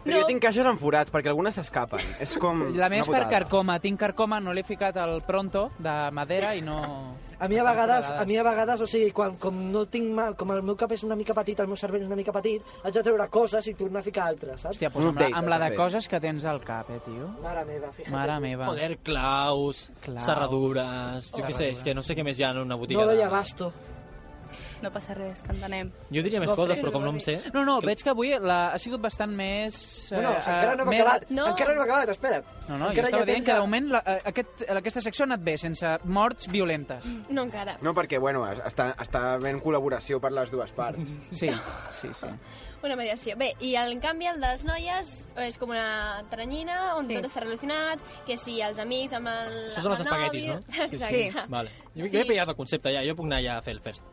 [SPEAKER 10] Però jo tinc caixes amb forats perquè algunes s'escapen. És com...
[SPEAKER 6] La meva
[SPEAKER 10] una
[SPEAKER 6] és per
[SPEAKER 10] putada.
[SPEAKER 6] carcoma. Tinc carcoma, no l'he ficat al pronto de madera i no...
[SPEAKER 1] A mi a vegades, a mi a vegades, o sigui, quan, com no tinc mal, com el meu cap és una mica petit, el meu cervell és una mica petit, haig de treure coses i tornar a ficar altres, saps?
[SPEAKER 6] Hòstia, pues amb, la, amb la de coses que tens al cap, eh, tio.
[SPEAKER 1] Mare meva, fíjate.
[SPEAKER 6] Mare meva.
[SPEAKER 3] Joder, claus,
[SPEAKER 6] Claus.
[SPEAKER 3] serradures... Jo què sé, és que no sé què més hi ha en una botiga.
[SPEAKER 1] No
[SPEAKER 3] de-
[SPEAKER 1] doy abasto.
[SPEAKER 12] No passa res, t'entenem.
[SPEAKER 3] Jo diria més
[SPEAKER 6] Gofres.
[SPEAKER 3] coses, però com no em sé...
[SPEAKER 6] No, no, veig que avui la, ha sigut bastant més...
[SPEAKER 1] No, no,
[SPEAKER 6] eh,
[SPEAKER 1] encara no hem
[SPEAKER 6] més-
[SPEAKER 1] acabat. Encara no hem acabat, espera't.
[SPEAKER 6] No, no, jo
[SPEAKER 1] Encara
[SPEAKER 6] estava
[SPEAKER 1] ja
[SPEAKER 6] dient
[SPEAKER 1] tens
[SPEAKER 6] que de
[SPEAKER 1] a-
[SPEAKER 6] moment la, eh, aquest, aquesta secció ha anat bé, sense morts violentes.
[SPEAKER 13] [LAUGHS] No encara.
[SPEAKER 10] No, perquè, bueno, es- està, està ben col·laboració per les dues parts.
[SPEAKER 6] Sí, sí, sí.
[SPEAKER 13] Una mediació. Bé, i en canvi el de les noies és com una teranyina on sí. tot està relacionat, que si els amics amb el...
[SPEAKER 3] Això són els
[SPEAKER 13] amb el
[SPEAKER 3] espaguetis, no?
[SPEAKER 13] nòvio- [LAUGHS] Exacte.
[SPEAKER 3] Vale. Jo, jo he pillat el concepte ja, jo puc anar ja a fer el fest.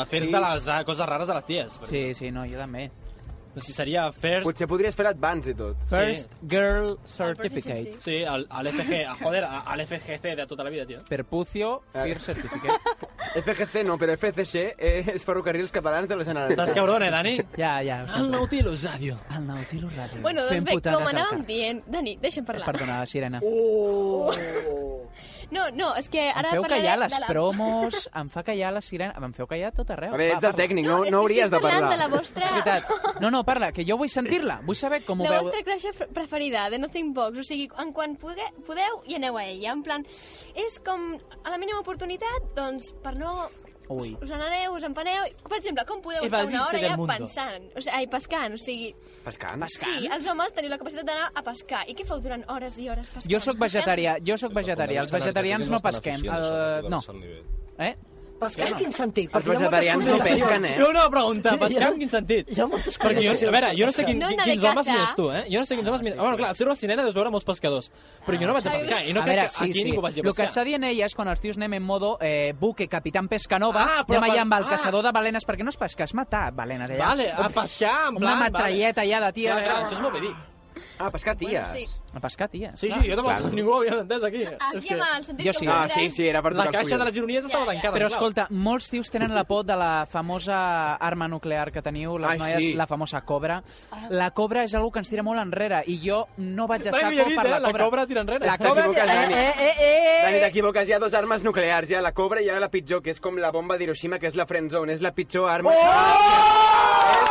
[SPEAKER 3] Afers de les ah, coses rares de les ties.
[SPEAKER 6] Sí, sí, no, jo també.
[SPEAKER 3] O sigui, seria first...
[SPEAKER 10] Potser podries fer l'advance i tot.
[SPEAKER 6] First Girl Certificate.
[SPEAKER 3] Sí, al, al FG, a, joder, a- al FGC de tota la vida, tio.
[SPEAKER 6] Perpucio
[SPEAKER 10] Ah.
[SPEAKER 6] First
[SPEAKER 10] [LAUGHS]
[SPEAKER 6] Certificate.
[SPEAKER 10] FGC no, però FCC és Ferrocarrils Catalans de la Generalitat.
[SPEAKER 3] Estàs cabrón, eh, Dani?
[SPEAKER 6] Ja, ja.
[SPEAKER 3] El Nautilus Radio.
[SPEAKER 6] El Nautilus Radio.
[SPEAKER 13] Bueno, doncs
[SPEAKER 6] Fent
[SPEAKER 13] bé,
[SPEAKER 6] putades
[SPEAKER 13] com
[SPEAKER 6] al
[SPEAKER 13] anàvem
[SPEAKER 6] cap.
[SPEAKER 13] dient... Dani, deixa'm parlar.
[SPEAKER 6] Perdona, Sirena.
[SPEAKER 1] Oh.
[SPEAKER 13] No, no, és que
[SPEAKER 6] Em
[SPEAKER 13] ara
[SPEAKER 6] feu
[SPEAKER 13] parlaré
[SPEAKER 6] callar les
[SPEAKER 13] de la...
[SPEAKER 6] promos, em fa callar la sirena... Em feu callar tot arreu.
[SPEAKER 10] A
[SPEAKER 6] Va,
[SPEAKER 10] veure, ets el
[SPEAKER 6] parla.
[SPEAKER 10] tècnic, no, no, hauries de
[SPEAKER 13] parlant
[SPEAKER 10] parlar.
[SPEAKER 13] de la vostra...
[SPEAKER 6] És veritat. No, no, parla, que jo vull sentir-la. Vull saber com ho
[SPEAKER 13] La
[SPEAKER 6] veu...
[SPEAKER 13] vostra classe fr- preferida de Nothing Box, o sigui, en quan pude, podeu i aneu a ella. En plan, és com a la mínima oportunitat, doncs, per no...
[SPEAKER 6] Ui.
[SPEAKER 13] Us n'aneu, us empaneu... Per exemple, com podeu estar
[SPEAKER 6] Evadirse
[SPEAKER 13] una hora
[SPEAKER 6] del
[SPEAKER 13] ja
[SPEAKER 6] mundo.
[SPEAKER 13] pensant? O sigui, ai, pescant, o sigui...
[SPEAKER 10] Pescant?
[SPEAKER 13] Sí, els homes teniu la capacitat d'anar a pescar. I què feu durant hores i hores pescant?
[SPEAKER 6] Jo sóc vegetarià, jo sóc vegetarià. Els vegetarians no pesquem. El... No. Eh?
[SPEAKER 1] Pescar
[SPEAKER 6] Jo
[SPEAKER 1] en
[SPEAKER 6] no.
[SPEAKER 1] quin sentit?
[SPEAKER 6] Els
[SPEAKER 1] Perquè hi ha moltes
[SPEAKER 6] vegetarians no
[SPEAKER 1] connotacions.
[SPEAKER 6] pesquen, eh?
[SPEAKER 3] Jo una
[SPEAKER 1] [LAUGHS]
[SPEAKER 3] pregunta,
[SPEAKER 1] Hi ha-
[SPEAKER 3] pescar en quin sentit?
[SPEAKER 1] Hi ha moltes
[SPEAKER 3] [LAUGHS] Perquè jo, a veure, jo no sé quin,
[SPEAKER 1] No
[SPEAKER 3] quin-
[SPEAKER 1] anar de
[SPEAKER 3] quins homes
[SPEAKER 1] caça.
[SPEAKER 3] mires tu, eh? Jo no sé quins homes mires... Bueno, clar, ser una sirena deus veure molts pescadors. Però jo no vaig a pescar, i no
[SPEAKER 6] a
[SPEAKER 3] crec
[SPEAKER 6] veure,
[SPEAKER 3] que aquí ningú vagi a
[SPEAKER 6] El que
[SPEAKER 3] pescar.
[SPEAKER 6] està dient ella és quan els tios anem en modo eh, buque capitán pescanova,
[SPEAKER 3] Ah,
[SPEAKER 6] ah,
[SPEAKER 3] però
[SPEAKER 6] anem allà
[SPEAKER 3] per-
[SPEAKER 6] amb el
[SPEAKER 3] ah.
[SPEAKER 6] caçador de balenes, perquè no és pescar, és matar balenes allà.
[SPEAKER 3] Vale, a pescar, en
[SPEAKER 6] Una
[SPEAKER 3] plan...
[SPEAKER 6] metralleta allà de tia.
[SPEAKER 3] Ja, ja, això és molt bé dir.
[SPEAKER 10] Ah, pescar
[SPEAKER 6] Bueno,
[SPEAKER 10] ties.
[SPEAKER 6] sí. A pescar ties. Ah,
[SPEAKER 3] Sí, sí, jo tampoc, ningú ho havia entès aquí.
[SPEAKER 13] El dia amb el sentit
[SPEAKER 6] Jo sí.
[SPEAKER 13] comú,
[SPEAKER 6] Ah, sí,
[SPEAKER 13] eh?
[SPEAKER 6] sí, era per
[SPEAKER 3] La
[SPEAKER 6] tocar els
[SPEAKER 3] caixa de
[SPEAKER 6] collons.
[SPEAKER 3] les ironies estava tancada.
[SPEAKER 6] Però
[SPEAKER 3] clar.
[SPEAKER 6] escolta, molts tios tenen la por de la famosa arma nuclear que teniu, les
[SPEAKER 3] Ai,
[SPEAKER 6] noies,
[SPEAKER 3] sí.
[SPEAKER 6] la famosa cobra.
[SPEAKER 10] Ah.
[SPEAKER 6] La cobra és algú que ens tira molt enrere i jo no vaig a
[SPEAKER 3] Dani,
[SPEAKER 6] saco
[SPEAKER 3] ja he dit,
[SPEAKER 6] per
[SPEAKER 3] eh?
[SPEAKER 6] la
[SPEAKER 3] La
[SPEAKER 6] cobra.
[SPEAKER 3] cobra tira enrere.
[SPEAKER 6] La cobra
[SPEAKER 10] T'equivoques,
[SPEAKER 6] tira
[SPEAKER 10] Dani.
[SPEAKER 6] enrere. Eh, eh, eh, eh.
[SPEAKER 10] Dani, t'equivoques, hi ha dues armes nuclears, hi ha la cobra i hi ha la pitjor, que és com la bomba d'Hiroshima, que és la friendzone, és la pitjor
[SPEAKER 6] Oh!
[SPEAKER 10] arma. Ah!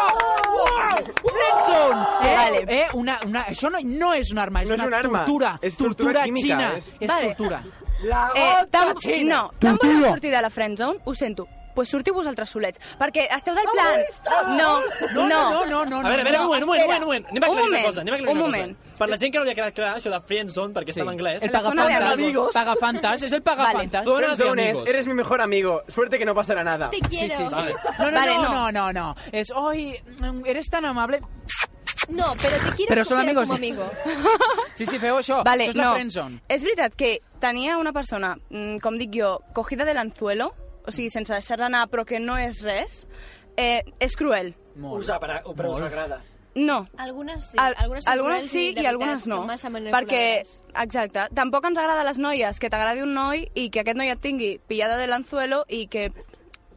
[SPEAKER 6] Friendzone! Oh! Eh,
[SPEAKER 10] Vale.
[SPEAKER 6] eh, una, una, això no, no és una arma, és,
[SPEAKER 10] No és
[SPEAKER 6] una,
[SPEAKER 10] una arma,
[SPEAKER 6] tortura.
[SPEAKER 10] és
[SPEAKER 6] tortura
[SPEAKER 10] tortura química, eh?
[SPEAKER 6] xina.
[SPEAKER 10] és-
[SPEAKER 6] És
[SPEAKER 12] Vale.
[SPEAKER 6] tortura.
[SPEAKER 1] La
[SPEAKER 12] Eh, tan,
[SPEAKER 6] xina.
[SPEAKER 12] no, tan bona sortir de la friendzone, ho sento. Pues sortiu vosaltres solets, perquè esteu del plan. No, no,
[SPEAKER 3] no, no, no, A veure, a veure, un moment, un moment, un moment, un moment. Anem a
[SPEAKER 12] Un
[SPEAKER 3] aclarir una
[SPEAKER 12] moment,
[SPEAKER 3] cosa, anem a aclarir
[SPEAKER 12] un
[SPEAKER 3] una
[SPEAKER 12] moment.
[SPEAKER 3] cosa. Per la gent que no havia quedat clar això de friend zone, perquè està en anglès...
[SPEAKER 6] El pagafantas. Pagafantas, és el pagafantas.
[SPEAKER 10] Friendzone és, eres mi mejor amigo, suerte que no pasará nada.
[SPEAKER 6] Te quiero. Sí, sí, sí.
[SPEAKER 10] Vale.
[SPEAKER 6] No, no,
[SPEAKER 10] Vale,
[SPEAKER 6] no, no,
[SPEAKER 10] no.
[SPEAKER 6] no, no. És, oi, mm, eres tan amable.
[SPEAKER 13] No, pero te quiero
[SPEAKER 6] Pero son
[SPEAKER 13] escoger
[SPEAKER 6] amigos.
[SPEAKER 13] como amigo.
[SPEAKER 6] Sí, sí, feu això.
[SPEAKER 12] Vale,
[SPEAKER 6] Oh, això és
[SPEAKER 12] no.
[SPEAKER 6] la friendzone.
[SPEAKER 12] És veritat que tenia una persona, mm, com dic jo, cogida de l'anzuelo, o sigui, sense deixar-la anar, però que no és res, eh, és cruel.
[SPEAKER 1] Us, apara, però us
[SPEAKER 12] Molt.
[SPEAKER 1] agrada.
[SPEAKER 12] No.
[SPEAKER 13] Algunes sí,
[SPEAKER 12] Al-
[SPEAKER 13] algunes són
[SPEAKER 12] algunes
[SPEAKER 13] cruels
[SPEAKER 12] sí
[SPEAKER 13] i, de
[SPEAKER 12] i algunes
[SPEAKER 13] veritat,
[SPEAKER 12] no.
[SPEAKER 13] són massa
[SPEAKER 12] Perquè,
[SPEAKER 13] manipuladores.
[SPEAKER 12] exacte, tampoc ens agrada a les noies que t'agradi un noi i que aquest noi et tingui pillada de l'anzuelo i que,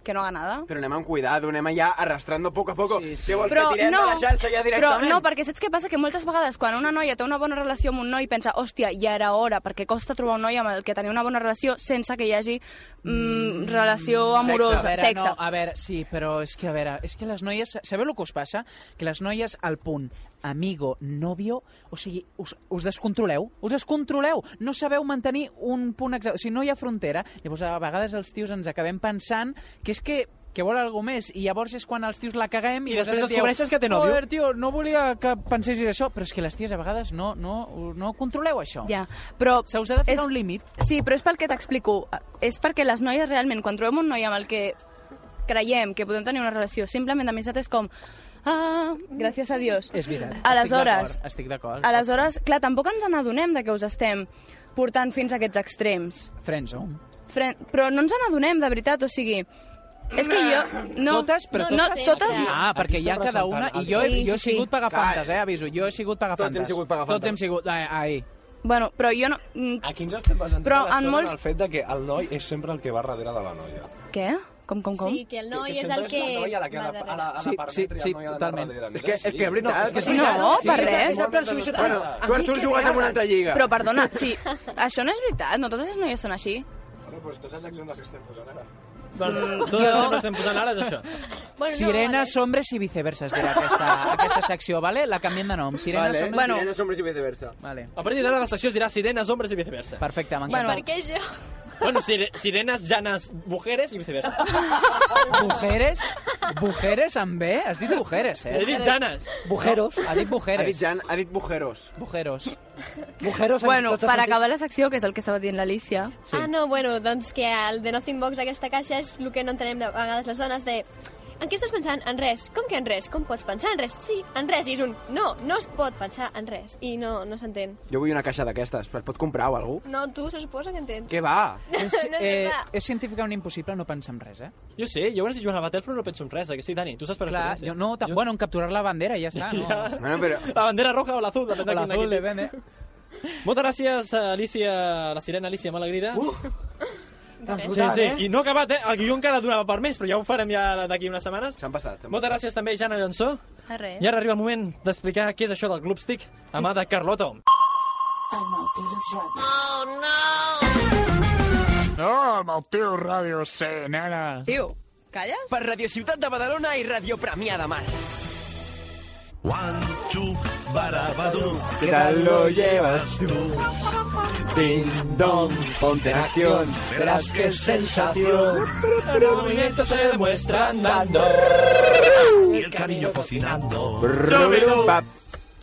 [SPEAKER 12] que no haga nada.
[SPEAKER 10] Però anem amb cuidado, anem allà arrastrando poco a poco. Sí, sí. Què vols
[SPEAKER 12] Però
[SPEAKER 10] que tirem
[SPEAKER 12] no,
[SPEAKER 10] de la xarxa ja
[SPEAKER 12] però
[SPEAKER 10] directament?
[SPEAKER 12] no, perquè saps què passa? Que moltes vegades quan una noia té una bona relació amb un noi pensa, hòstia, ja era hora, perquè costa trobar un noi amb el que tenir una bona relació sense que hi hagi mm, relació amorosa,
[SPEAKER 6] a veure,
[SPEAKER 12] sexe.
[SPEAKER 6] No, ah, a veure, sí, però és que, a veure, és que les noies... Sabeu el que us passa? Que les noies al punt amigo, novio, o sigui, us, us descontroleu, us descontroleu, no sabeu mantenir un punt exacte, o sigui, no hi ha frontera, llavors a vegades els tios ens acabem pensant que és que que vol alguna més, i llavors és quan els tios la caguem i,
[SPEAKER 3] I després
[SPEAKER 6] vosaltres dieu,
[SPEAKER 3] descobreixes que té nòvio."
[SPEAKER 6] Joder, tio, no volia que pensessis això, però és que les ties a vegades no, no, no controleu això.
[SPEAKER 12] Ja, però...
[SPEAKER 6] Se us ha de ficar un límit.
[SPEAKER 12] Sí, però és pel que t'explico. És perquè les noies realment, quan trobem un noi amb el que creiem que podem tenir una relació, simplement d'amistat és com... Ah, gràcies a Dios.
[SPEAKER 6] És veritat.
[SPEAKER 12] Aleshores,
[SPEAKER 6] Estic d'acord.
[SPEAKER 12] aleshores, clar, tampoc ens n'adonem de que us estem portant fins a aquests extrems.
[SPEAKER 6] Friendzone.
[SPEAKER 12] Fren... Però no ens n'adonem, de veritat, o sigui... És que jo... No,
[SPEAKER 6] Totes, però
[SPEAKER 12] no,
[SPEAKER 6] totes...
[SPEAKER 12] totes...
[SPEAKER 6] Ah, perquè hi ha cada una... I jo, he,
[SPEAKER 12] Sí,
[SPEAKER 6] jo he
[SPEAKER 12] sí,
[SPEAKER 6] sigut
[SPEAKER 12] sí.
[SPEAKER 6] pagafantes, eh, aviso. Jo he sigut pagafantes.
[SPEAKER 10] hem sigut pagafantes.
[SPEAKER 6] Tots hem sigut... Ai, ai.
[SPEAKER 12] Bueno, però jo no... mm,
[SPEAKER 9] Aquí ens estem basant
[SPEAKER 12] Però
[SPEAKER 9] tota
[SPEAKER 12] en
[SPEAKER 9] l'estona
[SPEAKER 12] molts-
[SPEAKER 9] el fet de que el noi és sempre el que va darrere de la noia.
[SPEAKER 12] Què? Com, com, com?
[SPEAKER 13] Sí, que el noi és
[SPEAKER 9] sempre
[SPEAKER 13] el
[SPEAKER 9] és
[SPEAKER 13] que...
[SPEAKER 9] la noia la que ha de-
[SPEAKER 13] va
[SPEAKER 9] ha de- ha de
[SPEAKER 6] Sí, sí,
[SPEAKER 9] permetre i el
[SPEAKER 6] sí,
[SPEAKER 9] noi ha d'anar
[SPEAKER 6] totalment.
[SPEAKER 9] darrere.
[SPEAKER 10] És que, és que és veritat.
[SPEAKER 9] No, és que
[SPEAKER 10] és
[SPEAKER 9] sí,
[SPEAKER 10] veritat.
[SPEAKER 12] no, per
[SPEAKER 10] és-
[SPEAKER 12] res.
[SPEAKER 10] és el plan suïcidari. Bueno, tu Artur jugues amb una altra lliga.
[SPEAKER 12] Però
[SPEAKER 9] [LAUGHS]
[SPEAKER 12] perdona, sí, això no és veritat, no totes les noies són així.
[SPEAKER 9] Bueno, doncs tots els exemples que estem posant ara. [LAUGHS]
[SPEAKER 3] Bueno,
[SPEAKER 12] Mm,
[SPEAKER 3] Doncs Tots els
[SPEAKER 12] jo-
[SPEAKER 3] exemples que estem posant ara doncs- és això.
[SPEAKER 13] Bueno,
[SPEAKER 6] Sirenes, hombres i viceversa es dirà aquesta, aquesta secció, vale? La canviem de nom. Sirenes,
[SPEAKER 10] Vale,
[SPEAKER 6] hombres...
[SPEAKER 10] bueno. sirenes, hombres i viceversa.
[SPEAKER 6] Vale.
[SPEAKER 3] A partir d'ara la secció es dirà sirenes, hombres i viceversa.
[SPEAKER 6] Perfecte,
[SPEAKER 13] Bueno, per què jo?
[SPEAKER 3] Bueno, sire- sirenes, llanes, mujeres i viceversa.
[SPEAKER 6] Mujeres? Mujeres amb B? Has dit mujeres, eh?
[SPEAKER 3] He dit janes.
[SPEAKER 6] Bujeros. Ha dit
[SPEAKER 10] Ha dit
[SPEAKER 6] bujeres.
[SPEAKER 10] Jan, ha dit bujeros.
[SPEAKER 6] Bujeros.
[SPEAKER 1] Mujeros
[SPEAKER 12] Bueno, per acabar la secció, que és el que estava dient l'Alicia...
[SPEAKER 13] Ah, no, bueno, doncs que el de Nothing Box aquesta caixa és el que no entenem de vegades les dones de En què estàs pensant? En res. Com que en res? Com pots pensar en res? Sí, en res. I és un no, no es pot pensar en res. I no, no s'entén.
[SPEAKER 10] Jo vull una caixa d'aquestes, però es pot comprar o algú?
[SPEAKER 13] No, tu se suposa que entens.
[SPEAKER 10] Què va?
[SPEAKER 6] És,
[SPEAKER 13] [LAUGHS] No, no,
[SPEAKER 6] eh,
[SPEAKER 13] clar.
[SPEAKER 6] és científicament impossible no pensar en res, eh?
[SPEAKER 3] Jo sé, jo quan estic jugant a Battlefront no penso en res, eh, que sí, Dani? Tu saps per
[SPEAKER 6] Clar,
[SPEAKER 3] experiència.
[SPEAKER 6] jo, no, tan, bueno, en capturar la bandera i ja està.
[SPEAKER 3] [LAUGHS]
[SPEAKER 6] No.
[SPEAKER 3] Ja.
[SPEAKER 10] Bueno, però...
[SPEAKER 3] La bandera roja o la azul, depèn de
[SPEAKER 6] O
[SPEAKER 3] quin
[SPEAKER 6] l'azul,
[SPEAKER 3] equip ets.
[SPEAKER 6] depèn, eh.
[SPEAKER 3] Moltes gràcies, a Alicia, la sirena Alicia Malagrida. Uh! Sí,
[SPEAKER 10] brutal,
[SPEAKER 3] sí,
[SPEAKER 10] eh?
[SPEAKER 3] i no ha acabat, eh? El guió encara donava per més, però ja ho farem ja d'aquí unes setmanes.
[SPEAKER 10] S'han passat.
[SPEAKER 3] Moltes gràcies també, Jana Llansó.
[SPEAKER 11] De
[SPEAKER 6] Eh?
[SPEAKER 11] res.
[SPEAKER 3] I ara arriba el moment d'explicar què és això del Glupstick, amà de Carlota.
[SPEAKER 11] El Nautilus Radio. Oh, no!
[SPEAKER 7] No, amb el teu Ràdio C, nena.
[SPEAKER 14] Tio, calles?
[SPEAKER 15] Per Radio Ciutat de Badalona i Radio Premià de Mar.
[SPEAKER 4] One, two, barabadú.
[SPEAKER 15] ¿Qué tal lo
[SPEAKER 4] llevas tú? Ding dong, ponte en acción. Verás qué sensación. El movimiento se demuestra andando. Y el cariño cocinando.
[SPEAKER 3] Brrr.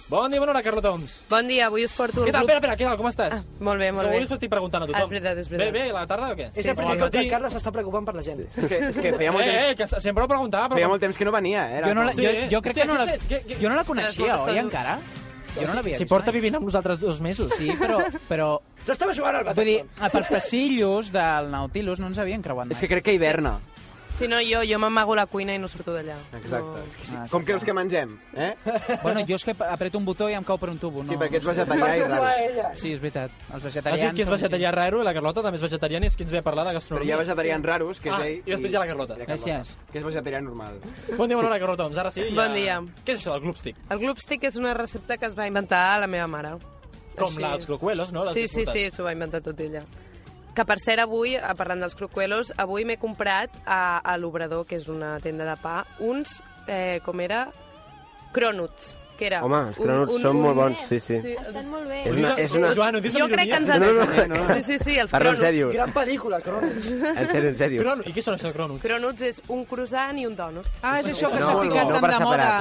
[SPEAKER 3] Bon dia, bona hora, Carla Toms.
[SPEAKER 14] Bon dia, avui us porto...
[SPEAKER 3] Què
[SPEAKER 14] el
[SPEAKER 3] tal?
[SPEAKER 14] grup-
[SPEAKER 3] Espera, espera, què tal? Com estàs? Ah,
[SPEAKER 14] Eh, Molt bé, molt
[SPEAKER 3] Avui
[SPEAKER 14] bé.
[SPEAKER 3] us estic preguntant a tothom.
[SPEAKER 14] Ah, és veritat, és veritat.
[SPEAKER 3] Bé, bé, a la tarda o què?
[SPEAKER 1] És el primer cop que el Carles s'està preocupant per la gent.
[SPEAKER 10] És que, és que feia
[SPEAKER 3] eh,
[SPEAKER 10] molt temps...
[SPEAKER 3] Eh, que sempre ho preguntava, però...
[SPEAKER 10] Feia molt temps que no venia, eh?
[SPEAKER 6] Jo no la- jo- jo crec que no la- jo no la
[SPEAKER 3] coneixia, oi, encara?
[SPEAKER 6] Jo no l'havia
[SPEAKER 3] si
[SPEAKER 6] vist
[SPEAKER 3] porta vivint amb nosaltres dos mesos.
[SPEAKER 6] Sí, però... però...
[SPEAKER 10] [LAUGHS]
[SPEAKER 1] Jo estava jugant al
[SPEAKER 6] Vull dir, pels passillos del Nautilus no ens havien creuat mai.
[SPEAKER 10] És que crec que hiverna.
[SPEAKER 14] Si no, jo, jo m'amago a la cuina i no surto d'allà.
[SPEAKER 10] Exacte. És que sí.
[SPEAKER 6] Ah, està
[SPEAKER 10] Com creus que mengem, eh?
[SPEAKER 6] Bueno, jo és que apreto un botó i em cau per un tubo. No,
[SPEAKER 10] Sí, perquè ets vegetarià i raro.
[SPEAKER 6] Sí, és veritat. Els
[SPEAKER 3] Has
[SPEAKER 6] vegetarians...
[SPEAKER 3] dit que és vegetarià raro i la Carlota també és vegetariana i és qui ens ve a parlar de
[SPEAKER 10] Però
[SPEAKER 3] gastronomia.
[SPEAKER 10] hi ha vegetarians raros, que és
[SPEAKER 3] ah,
[SPEAKER 10] ell...
[SPEAKER 3] i després hi ha la Carlota.
[SPEAKER 10] i Que és vegetarià normal.
[SPEAKER 3] Bon dia, bona hora, Carlota. Doncs ara sí. Ja...
[SPEAKER 14] Bon dia.
[SPEAKER 3] Què és això del glupstick?
[SPEAKER 14] El glupstick és una recepta que es va inventar la meva mare.
[SPEAKER 3] Com la- els crocuelos, no? Les
[SPEAKER 14] sí,
[SPEAKER 3] que
[SPEAKER 14] sí, sí,
[SPEAKER 3] porten.
[SPEAKER 14] s'ho va inventar tot ella. Que, per cert, avui, eh, parlant dels crocuelos, avui m'he comprat a, a l'Obrador, que és una tenda de pa, uns, eh, com era, cronuts. Que era
[SPEAKER 5] Home, els cronuts són molt bons, sí, sí.
[SPEAKER 14] Estan molt bé.
[SPEAKER 5] És una- és una- Joan, ho dius amb
[SPEAKER 14] jo crec
[SPEAKER 5] ironia.
[SPEAKER 14] que ens
[SPEAKER 5] No, no,
[SPEAKER 14] anem.
[SPEAKER 5] no, no.
[SPEAKER 14] Sí, sí, sí, els
[SPEAKER 5] Parla en
[SPEAKER 14] cronuts.
[SPEAKER 5] sèrio. Gran
[SPEAKER 1] pel·lícula, cronuts.
[SPEAKER 5] En sèrio, en sèrio.
[SPEAKER 3] Crono, I què són això, Crono?
[SPEAKER 14] Cronuts és un croissant i un dònut.
[SPEAKER 6] Ah, és això que s'ha ficat
[SPEAKER 5] no,
[SPEAKER 6] tan
[SPEAKER 5] per
[SPEAKER 6] de moda
[SPEAKER 5] separat,
[SPEAKER 6] a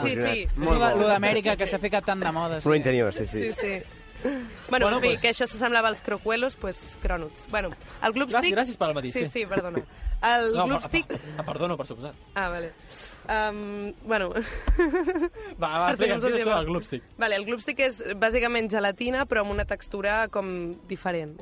[SPEAKER 5] lliure, sí,
[SPEAKER 14] Sí, sí, sí.
[SPEAKER 5] Molt
[SPEAKER 6] Molt
[SPEAKER 5] bo.
[SPEAKER 6] lo d'Amèrica, que s'ha ficat tan de moda.
[SPEAKER 5] Molt ingeniós, sí, sí.
[SPEAKER 14] Sí, sí. Bueno,
[SPEAKER 5] Bueno,
[SPEAKER 14] bueno en fi, pues...
[SPEAKER 5] pues-
[SPEAKER 14] que això s'assemblava als crocuelos, pues, cronuts. Bueno, el glupstick...
[SPEAKER 3] Gràcies, gràcies pel matí,
[SPEAKER 14] Sí,
[SPEAKER 3] sí.
[SPEAKER 14] sí, perdona. El
[SPEAKER 3] No,
[SPEAKER 14] no,
[SPEAKER 3] per-
[SPEAKER 14] glupstick...
[SPEAKER 3] Ah, perdono, per suposat.
[SPEAKER 14] Ah, vale. Um, bueno, [LAUGHS]
[SPEAKER 3] Va, va,
[SPEAKER 14] Per si no ens
[SPEAKER 3] explica'ns què és això
[SPEAKER 14] sentim.
[SPEAKER 3] del glupstick.
[SPEAKER 14] vale, el glupstick és bàsicament gelatina, però amb una textura com diferent.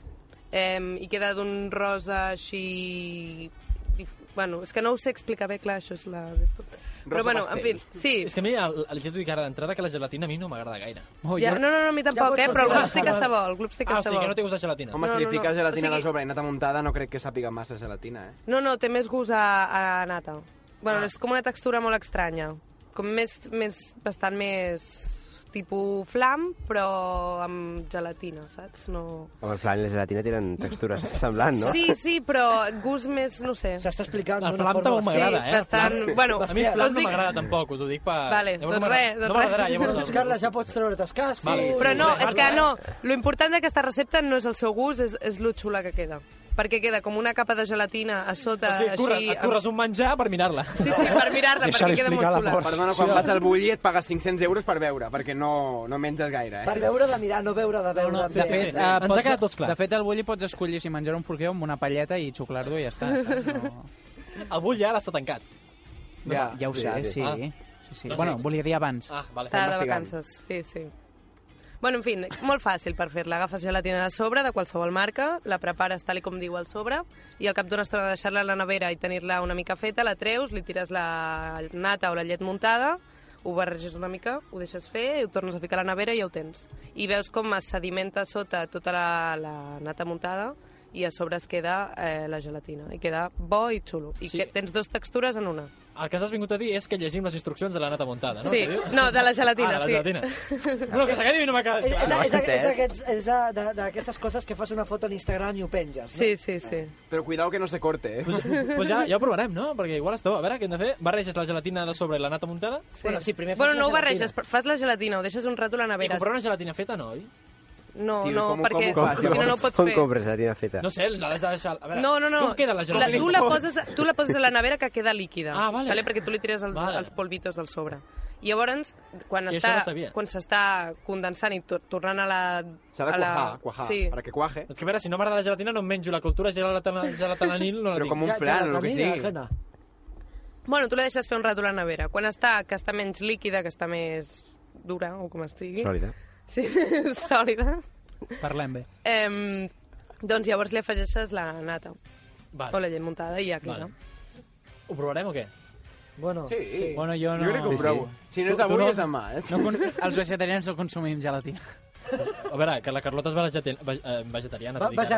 [SPEAKER 14] Um, I queda d'un rosa així... dif- Bueno, és que no ho sé explicar bé, clar, això és la... d'esto. Però bueno, en fi, sí.
[SPEAKER 3] És que a mi, el, el, ja t'ho dic ara d'entrada, que la gelatina a mi no m'agrada gaire.
[SPEAKER 6] Oh,
[SPEAKER 14] ja, no, no, no, a mi tampoc,
[SPEAKER 3] Oh, pots
[SPEAKER 14] eh? Però el
[SPEAKER 3] sortir.
[SPEAKER 14] glupstick està bo, el glupstick
[SPEAKER 3] Ah, o
[SPEAKER 14] està
[SPEAKER 3] sigui
[SPEAKER 14] bo.
[SPEAKER 3] que no té gust de gelatina.
[SPEAKER 10] Home, si li fiques gelatina
[SPEAKER 14] o
[SPEAKER 10] a
[SPEAKER 14] sigui,
[SPEAKER 10] la sobre i nata muntada, no crec que sàpiga massa gelatina, eh?
[SPEAKER 14] No, no, té més gust a, a nata.
[SPEAKER 3] Ah.
[SPEAKER 14] Bueno, és com una textura molt estranya. Com més, més, bastant més tipus flam, però amb gelatina, saps? No...
[SPEAKER 5] Home, el flan i la gelatina tenen textures semblants, Ah, no?
[SPEAKER 14] Sí, sí, però gust més, no sé.
[SPEAKER 1] S'està explicant
[SPEAKER 3] El flam tampoc m'agrada, eh?
[SPEAKER 14] sí, Bastant...
[SPEAKER 3] El flam-
[SPEAKER 14] Bueno,
[SPEAKER 3] a mi el
[SPEAKER 14] us
[SPEAKER 3] flam no
[SPEAKER 14] dic-
[SPEAKER 3] m'agrada tampoc, us ho dic per...
[SPEAKER 14] Vale,
[SPEAKER 3] Llavors
[SPEAKER 14] doncs
[SPEAKER 3] no m'agrada-
[SPEAKER 14] res, doncs
[SPEAKER 3] No m'agradarà,
[SPEAKER 14] res.
[SPEAKER 3] llavors...
[SPEAKER 1] Doncs, Carles, ja pots treure't els cascs.
[SPEAKER 3] Vale.
[SPEAKER 14] Però no, és que no, lo important d'aquesta recepta no és el seu gust, és, és lo xula que queda. Perquè queda com una capa de gelatina a sota,
[SPEAKER 3] O sigui, et curres,
[SPEAKER 14] així...
[SPEAKER 3] et curres un menjar per
[SPEAKER 14] [LAUGHS]
[SPEAKER 3] mirar-la. Ah,
[SPEAKER 14] Sí, sí, per mirar-la, perquè queda molt xula.
[SPEAKER 10] Perdona, quan vas al bulli et pagues 500 euros per veure, perquè no, no menges gaire,
[SPEAKER 1] Per
[SPEAKER 10] eh?
[SPEAKER 1] veure de mirar, no veure de veure.
[SPEAKER 6] De fet, eh,
[SPEAKER 10] Ens ha
[SPEAKER 6] pots-
[SPEAKER 10] quedat tots clar.
[SPEAKER 6] De fet, al bulli pots escollir si menjar un forquer amb una palleta i xuclar-lo i ja està, saps? No...
[SPEAKER 3] El bull ja l'està tancat.
[SPEAKER 6] Ja, ja ho
[SPEAKER 3] sí,
[SPEAKER 6] saps,
[SPEAKER 3] sí.
[SPEAKER 6] sí.
[SPEAKER 3] Ah.
[SPEAKER 6] sí. sí, sí.
[SPEAKER 3] No sé.
[SPEAKER 6] Bueno, volia dir abans.
[SPEAKER 3] Ah, vale.
[SPEAKER 14] Està de vacances, sí, sí. Bueno, en fi, molt fàcil per fer-la. Agafes gelatina de sobre, de qualsevol marca, la prepares tal i com diu al sobre, i al cap d'una estona de deixar-la a la nevera i tenir-la una mica feta, la treus, li tires la nata o la llet muntada, ho barreges una mica, ho deixes fer, i ho tornes a ficar a la nevera i ja ho tens. I veus com es sedimenta sota tota la, la nata muntada i a sobre es queda eh, la gelatina. I queda bo i xulo. I sí. que tens dues textures en una.
[SPEAKER 3] Ah, El que ens has vingut a dir és que llegim les instruccions de la nata muntada, no?
[SPEAKER 14] Sí.
[SPEAKER 3] Que diu?
[SPEAKER 14] No, de la gelatina,
[SPEAKER 3] ah, de la
[SPEAKER 14] sí.
[SPEAKER 3] gelatina. No, que s'ha quedat i no m'ha quedat
[SPEAKER 1] És,
[SPEAKER 3] clar.
[SPEAKER 1] és, és, és, aquests- és, de- de- d'aquestes coses que fas una foto a l'Instagram i ho penges, no?
[SPEAKER 14] Sí, sí, sí.
[SPEAKER 10] Però cuidao que no se corte, eh?
[SPEAKER 3] Pues, pues ja, ja ho provarem, no? Perquè igual esteu... A veure, què hem de fer? Barreges la gelatina de sobre i la nata muntada?
[SPEAKER 14] Sí. bueno, no ho barreges, però fas la gelatina, ho deixes un rato a la
[SPEAKER 3] I
[SPEAKER 14] nevera.
[SPEAKER 3] comprar una gelatina feta, no, oi?
[SPEAKER 14] No,
[SPEAKER 3] Tio,
[SPEAKER 14] no,
[SPEAKER 3] com ho-
[SPEAKER 14] perquè
[SPEAKER 3] com ho fas?
[SPEAKER 14] eh, si no, no ho pots
[SPEAKER 5] Com
[SPEAKER 14] fer.
[SPEAKER 5] compres gelatina feta?
[SPEAKER 3] No sé, l'has de deixar... A veure,
[SPEAKER 14] No, no, no.
[SPEAKER 3] Com queda la gelatina?
[SPEAKER 14] tu, la poses, tu la poses a la nevera que queda líquida.
[SPEAKER 3] Ah, vale.
[SPEAKER 14] vale perquè tu li tires el,
[SPEAKER 3] Vale.
[SPEAKER 14] vale. els polvitos del sobre. I llavors, quan
[SPEAKER 10] I això
[SPEAKER 14] està-
[SPEAKER 10] no sabia.
[SPEAKER 14] quan s'està condensant i tor- tornant a la...
[SPEAKER 10] S'ha de
[SPEAKER 14] a la...
[SPEAKER 10] cuajar, cuajar,
[SPEAKER 14] Sí.
[SPEAKER 10] perquè cuaje.
[SPEAKER 3] És que a veure, si no m'agrada la gelatina no em menjo la cultura gelatalanil, no la
[SPEAKER 10] Però
[SPEAKER 3] tinc.
[SPEAKER 10] com un flan, o el que sigui.
[SPEAKER 14] Bueno, tu la deixes fer un rato a la nevera. Quan està, que està menys líquida, que està més dura, o com estigui.
[SPEAKER 5] Sòlida.
[SPEAKER 14] Sí, [LAUGHS] sòlida.
[SPEAKER 3] Parlem bé.
[SPEAKER 14] Eh, doncs llavors li afegeixes la nata.
[SPEAKER 3] Vale.
[SPEAKER 14] O la llet muntada i ja queda.
[SPEAKER 3] Vale. Ho provarem o què?
[SPEAKER 1] Bueno,
[SPEAKER 10] Sí.
[SPEAKER 3] Bueno, jo no...
[SPEAKER 10] Jo crec que ho provo. Si no és
[SPEAKER 3] Tu- tu
[SPEAKER 10] avui, és demà, eh?
[SPEAKER 6] No, con- [LAUGHS] els vegetarians no consumim gelatina.
[SPEAKER 3] A veure, que la Carlota és vegeta- ve- eh, vegetariana. t'ho dic ara.
[SPEAKER 1] és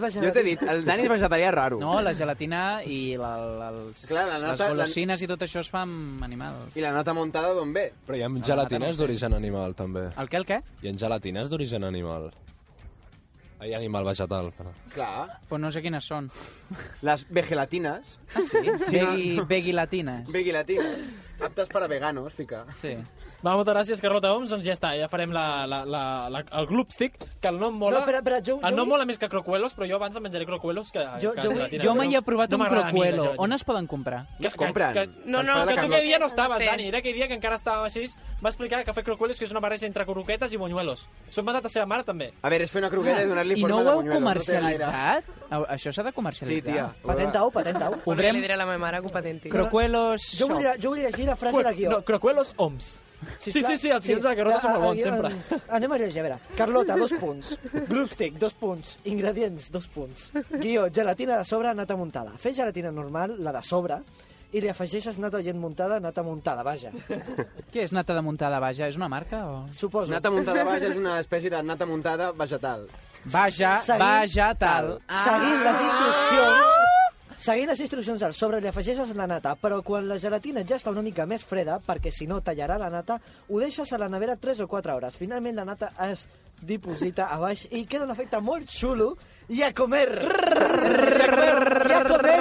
[SPEAKER 6] vegelatina.
[SPEAKER 3] Jo t'he dit, el Dani és
[SPEAKER 10] vegetarià raro.
[SPEAKER 6] No, la gelatina i la, la, els,
[SPEAKER 10] Clar, la
[SPEAKER 6] les
[SPEAKER 10] nata-
[SPEAKER 6] golosines i tot això es fa amb animals.
[SPEAKER 10] I la nata muntada d'on ve?
[SPEAKER 9] Però hi ha
[SPEAKER 6] nata
[SPEAKER 9] gelatines
[SPEAKER 6] Ah, no ho
[SPEAKER 9] d'origen animal, també.
[SPEAKER 6] El què, el què?
[SPEAKER 9] Hi ha gelatines d'origen animal. Hi ha animal vegetal. Però...
[SPEAKER 10] Clar.
[SPEAKER 6] Però no sé quines són.
[SPEAKER 10] Les vegelatines.
[SPEAKER 6] Ah, sí?
[SPEAKER 10] [LAUGHS] Sí, no,
[SPEAKER 6] Vegui,
[SPEAKER 10] no.
[SPEAKER 6] vegui latines.
[SPEAKER 10] Vegelatines. Aptes per a veganos, fica.
[SPEAKER 6] Sí.
[SPEAKER 3] Va, moltes gràcies, Carlota Homs. Doncs ja està, ja farem la, la, la, la, el glupstick, que el nom mola...
[SPEAKER 1] No, espera, espera, jo-
[SPEAKER 3] el
[SPEAKER 1] jo-
[SPEAKER 3] nom mola més que crocuelos, però jo abans em menjaré crocuelos que...
[SPEAKER 6] Jo,
[SPEAKER 3] que
[SPEAKER 6] jo,
[SPEAKER 3] gelatina,
[SPEAKER 6] jo
[SPEAKER 3] però
[SPEAKER 6] mai he provat
[SPEAKER 3] no
[SPEAKER 6] un
[SPEAKER 3] m'agrada a mi la
[SPEAKER 6] crocuelo.
[SPEAKER 3] gelatina.
[SPEAKER 6] On es poden comprar?
[SPEAKER 3] Que, que, que, no,
[SPEAKER 10] Doncs
[SPEAKER 3] no, que tu aquell dia no estaves, Dani. Era aquell dia que encara estava així. Va explicar que fer crocuelos que és una barreja entre croquetes i buñuelos. S'ho ha mandat a seva mare, també.
[SPEAKER 10] A veure, és fer una croqueta i donar-li
[SPEAKER 6] I
[SPEAKER 10] forma
[SPEAKER 6] no ho
[SPEAKER 10] de
[SPEAKER 6] heu
[SPEAKER 10] bunyuelo, no té gaire.
[SPEAKER 6] comercialitzat? Au, Això s'ha de comercialitzar.
[SPEAKER 10] Sí, tia.
[SPEAKER 1] Patenta-ho, patenta-ho.
[SPEAKER 6] Obrem
[SPEAKER 14] Li diré a la meva mare que ho patenti.
[SPEAKER 6] crocuelos...
[SPEAKER 1] Jo vull, jo vull llegir la frase d'aquí.
[SPEAKER 3] No, crocuelos oms. Sí, sí, sí, els guions de la Carlota són molt bons, sempre.
[SPEAKER 1] Ah, Anem a llegir, a veure. Carlota, dos punts. Glupstick, dos punts. Ingredients, dos punts. Guió, gelatina de sobre, nata muntada. Fes gelatina normal, la de sobre, i li afegeixes nata llet muntada, nata muntada, vaja.
[SPEAKER 6] Què és nata de muntada vaja? És una marca o...?
[SPEAKER 1] Suposo.
[SPEAKER 10] Nata muntada baix és una espècie de nata muntada vegetal.
[SPEAKER 6] Vaja,
[SPEAKER 1] Seguint-
[SPEAKER 6] vaja, tal.
[SPEAKER 1] Seguint les instruccions... Seguint les instruccions al sobre li afegeixes la nata, però quan la gelatina ja està una mica més freda, perquè si no tallarà la nata, ho deixes a la nevera 3 o 4 hores. Finalment la nata es diposita a baix i queda un efecte molt xulo i a comer. I a comer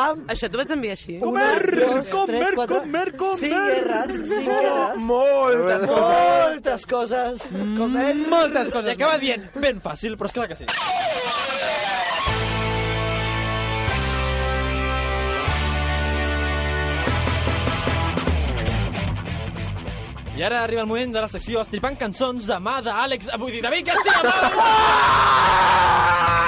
[SPEAKER 1] amb...
[SPEAKER 14] Això t'ho vaig enviar així.
[SPEAKER 1] Comer, comer, comer, comer. Cinc guerres, cinc guerres.
[SPEAKER 10] Moltes coses.
[SPEAKER 1] Moltes coses. Comer.
[SPEAKER 3] Moltes coses. I acaba dient, ben fàcil, però és clar que sí. I ara arriba el moment de la secció Estripant cançons de mà d'Àlex... ah, Vull dir, David García,
[SPEAKER 4] Ah,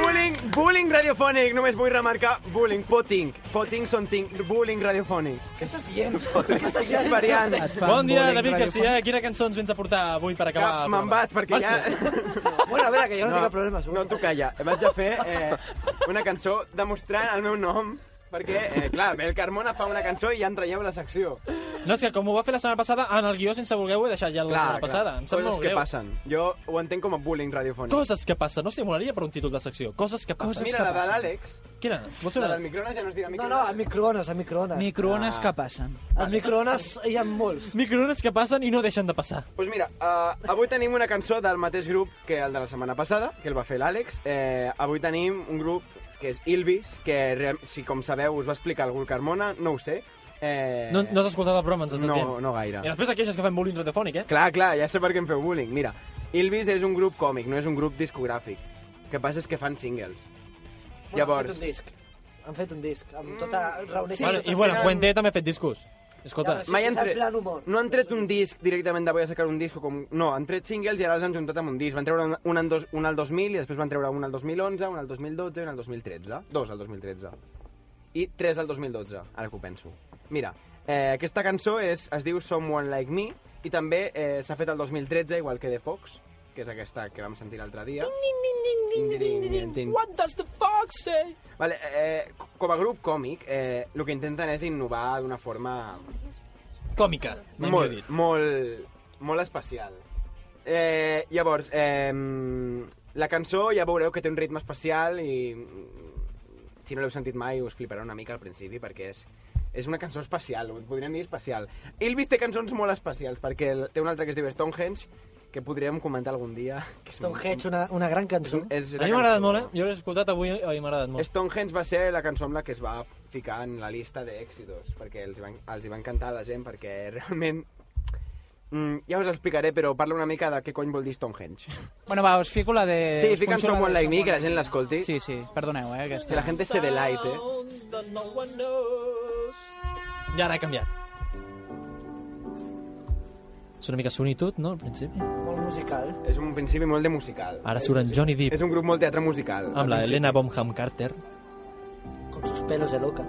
[SPEAKER 10] Bullying, bullying radiofònic. Només vull remarcar bullying, poting. Poting, something, bullying radiofònic. Què estàs dient? Què estàs dient? Variant.
[SPEAKER 3] Bon dia, David García. Quina cançó ens vens a portar avui per acabar?
[SPEAKER 10] Cap,
[SPEAKER 3] el
[SPEAKER 10] Me'n
[SPEAKER 3] programa?
[SPEAKER 10] vaig, perquè ja...
[SPEAKER 3] Marxes.
[SPEAKER 1] Bueno, a veure, que jo no, tinc problemes.
[SPEAKER 10] No, tu calla. Vaig a fer eh, una cançó demostrant el meu nom, perquè, eh, clar, el Carmona fa una cançó i ja em traieu la secció.
[SPEAKER 3] No, és que com ho va fer la setmana passada, en el guió sense voler ho he deixat ja la setmana passada. Em sap
[SPEAKER 10] Coses
[SPEAKER 3] molt
[SPEAKER 10] que
[SPEAKER 3] greu.
[SPEAKER 10] passen. Jo ho entenc com a bullying radiofònic.
[SPEAKER 3] Coses que passen. Hòstia, molaria per un títol de secció. Coses que passen.
[SPEAKER 10] Mira, la de l'Àlex.
[SPEAKER 3] Quina? Vols fer
[SPEAKER 10] La
[SPEAKER 3] una?
[SPEAKER 10] del microones ja no es dirà
[SPEAKER 1] No,
[SPEAKER 10] microones. Ah.
[SPEAKER 1] no, a microones, a microones.
[SPEAKER 6] Microones que passen.
[SPEAKER 1] Als microones hi ha molts.
[SPEAKER 3] Microones que passen i no deixen de passar.
[SPEAKER 10] Doncs pues mira, uh, avui tenim una cançó del mateix grup que el de la setmana passada, que el va fer l'Àlex. Eh, avui tenim un grup que és Ilvis, que re- si com sabeu us va explicar algú el Carmona, no ho sé. Eh...
[SPEAKER 3] No, no has escoltat el programa, ens estàs
[SPEAKER 10] No,
[SPEAKER 3] dient?
[SPEAKER 10] no gaire.
[SPEAKER 3] I després aquelles que fem bullying radiofònic, eh?
[SPEAKER 10] Clar, clar, ja sé per què em feu bullying. Mira, Ilvis és un grup còmic, no és un grup discogràfic. El que passa és que fan singles.
[SPEAKER 1] Bueno, Han
[SPEAKER 10] Llavors... Mm.
[SPEAKER 1] fet un disc. Han fet un disc. Amb tota...
[SPEAKER 10] Sí,
[SPEAKER 1] Reuneixen
[SPEAKER 3] bueno,
[SPEAKER 1] tots
[SPEAKER 3] I
[SPEAKER 1] els
[SPEAKER 3] bueno,
[SPEAKER 1] grans-
[SPEAKER 3] Fuente també ha fet discos. Escolta,
[SPEAKER 1] Ja, però sí, Mai és han el tret- plan humor.
[SPEAKER 10] No han tret un disc directament de voy a sacar un disc o com... No, han tret singles i ara els han juntat amb un disc. Van treure un, un, en dos, un al 2000 i després van treure un al 2011, un al 2012 i un al 2013. Dos al 2013. I tres al 2012, ara que ho penso. Mira, eh, aquesta cançó és, es diu Someone Like Me i també eh, s'ha fet el 2013, igual que The Fox, que és aquesta que vam sentir l'altre dia. Ding, ding, ding, ding.
[SPEAKER 3] What does the fox say?
[SPEAKER 10] Vale, eh, com a grup còmic, eh, el que intenten és innovar d'una forma
[SPEAKER 3] Còmica. mai millor
[SPEAKER 10] molt,
[SPEAKER 3] dit.
[SPEAKER 10] molt, molt especial. Eh, llavors, eh, la cançó ja veureu que té un ritme especial i mm, si no l'heu sentit mai us fliparà una mica al principi perquè és, és una cançó especial, ho podríem dir especial. Elvis té cançons molt especials perquè el- té una altra que es diu Stonehenge que podríem comentar algun dia. Que és un-
[SPEAKER 1] Stonehenge, una, una gran cançó.
[SPEAKER 10] És,
[SPEAKER 3] A mi m'ha agradat molt, eh? Jo l'he escoltat avui i m'ha agradat molt.
[SPEAKER 10] Stonehenge va ser la cançó amb la que es va ficar en la llista d'èxitos, perquè els hi, van, els hi van cantar a la gent, perquè [LAUGHS] realment... Mm, ja us explicaré, però parla una mica de què cony vol dir Stonehenge.
[SPEAKER 6] Bueno, va, us fico la de...
[SPEAKER 10] sí,
[SPEAKER 6] us
[SPEAKER 10] fiquen
[SPEAKER 6] punxo la de
[SPEAKER 10] Someone Like Me,
[SPEAKER 6] Someone
[SPEAKER 10] que la gent l'escolti.
[SPEAKER 6] Sí, sí, perdoneu, eh, aquesta.
[SPEAKER 10] Que la gent se delight, eh?
[SPEAKER 3] Ja ara ha canviat. És una mica sonitud, no, al principi?
[SPEAKER 1] Molt musical.
[SPEAKER 10] És un principi molt de musical.
[SPEAKER 3] Ara surt en Johnny Depp
[SPEAKER 10] És un grup molt teatre musical.
[SPEAKER 3] amb la
[SPEAKER 10] al principi.
[SPEAKER 3] Helena Bonham Carter.
[SPEAKER 1] Con sus pelos de loca.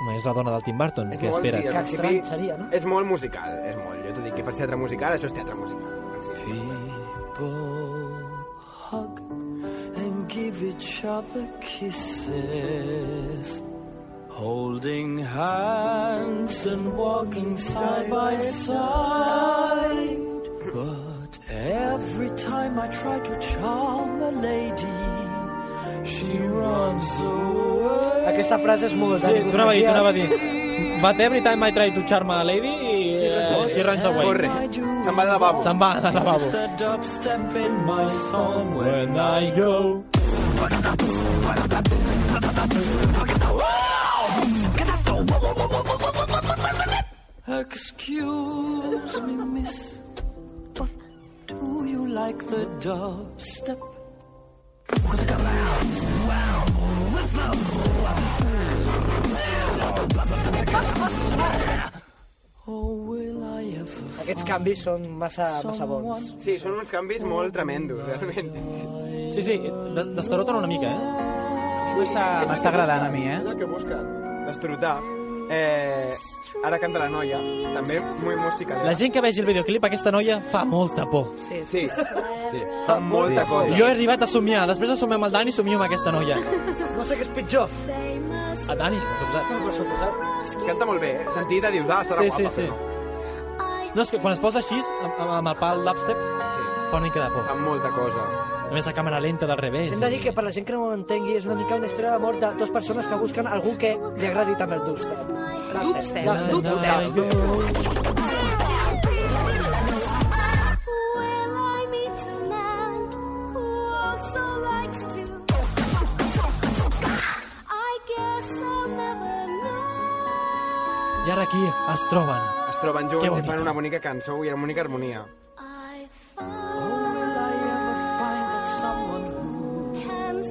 [SPEAKER 3] Home, és la dona del Tim Burton,
[SPEAKER 10] És
[SPEAKER 3] que
[SPEAKER 10] molt,
[SPEAKER 3] esperes?
[SPEAKER 10] sí, al principi És molt musical, és molt. Jo t'ho dic que per teatre musical, això és teatre musical.
[SPEAKER 4] People hug and give each other kisses. Holding hands and walking side by side. But every time I try to charm a lady, she runs away.
[SPEAKER 1] Aquesta frase és molt...
[SPEAKER 3] Sí, tornava a dir, tornava a dir. But every time I try to charm a lady, eh, she runs away.
[SPEAKER 4] Corre.
[SPEAKER 10] Se'n va al lavabo.
[SPEAKER 3] Se'n va al lavabo.
[SPEAKER 4] The dubstep in my song when I go. Excuse me, miss, but do you like the dubstep? [LAUGHS]
[SPEAKER 1] Aquests canvis són massa, massa bons.
[SPEAKER 10] Sí, són uns canvis molt tremendos, realment.
[SPEAKER 3] Sí, sí, des- destaroten una mica, eh?
[SPEAKER 10] M'està
[SPEAKER 6] m'està agradant a mi, eh?
[SPEAKER 10] És el que busquen, destorotar. Eh, ara canta la noia, també molt musical.
[SPEAKER 3] La gent que vegi el videoclip, aquesta noia fa molta por.
[SPEAKER 10] Sí. Sí. sí. Fa molta cosa.
[SPEAKER 3] Jo he arribat a somiar, després de somiar amb el Dani, somio amb aquesta noia.
[SPEAKER 1] No sé què és pitjor.
[SPEAKER 3] A Dani, per suposat.
[SPEAKER 1] Per suposat.
[SPEAKER 10] Canta molt bé, eh? Sentida, dius, ah, serà
[SPEAKER 3] Sí, sí,
[SPEAKER 10] guapa.
[SPEAKER 3] sí. No, és que quan es posa així, amb, amb- amb el pal dubstep, sí. fa una mica de por.
[SPEAKER 10] Amb molta cosa.
[SPEAKER 3] A més, a càmera lenta del revés.
[SPEAKER 1] Hem de dir que per la gent que no ho entengui és una mica una història d'amor de dues persones que busquen algú que li agradi també el dubstep.
[SPEAKER 3] Dubstep,
[SPEAKER 1] Dubstep.
[SPEAKER 3] dubstep. I ara aquí es troben.
[SPEAKER 10] Es troben
[SPEAKER 3] Que
[SPEAKER 10] junts i
[SPEAKER 3] bonica.
[SPEAKER 10] fan una bonica cançó i una bonica harmonia.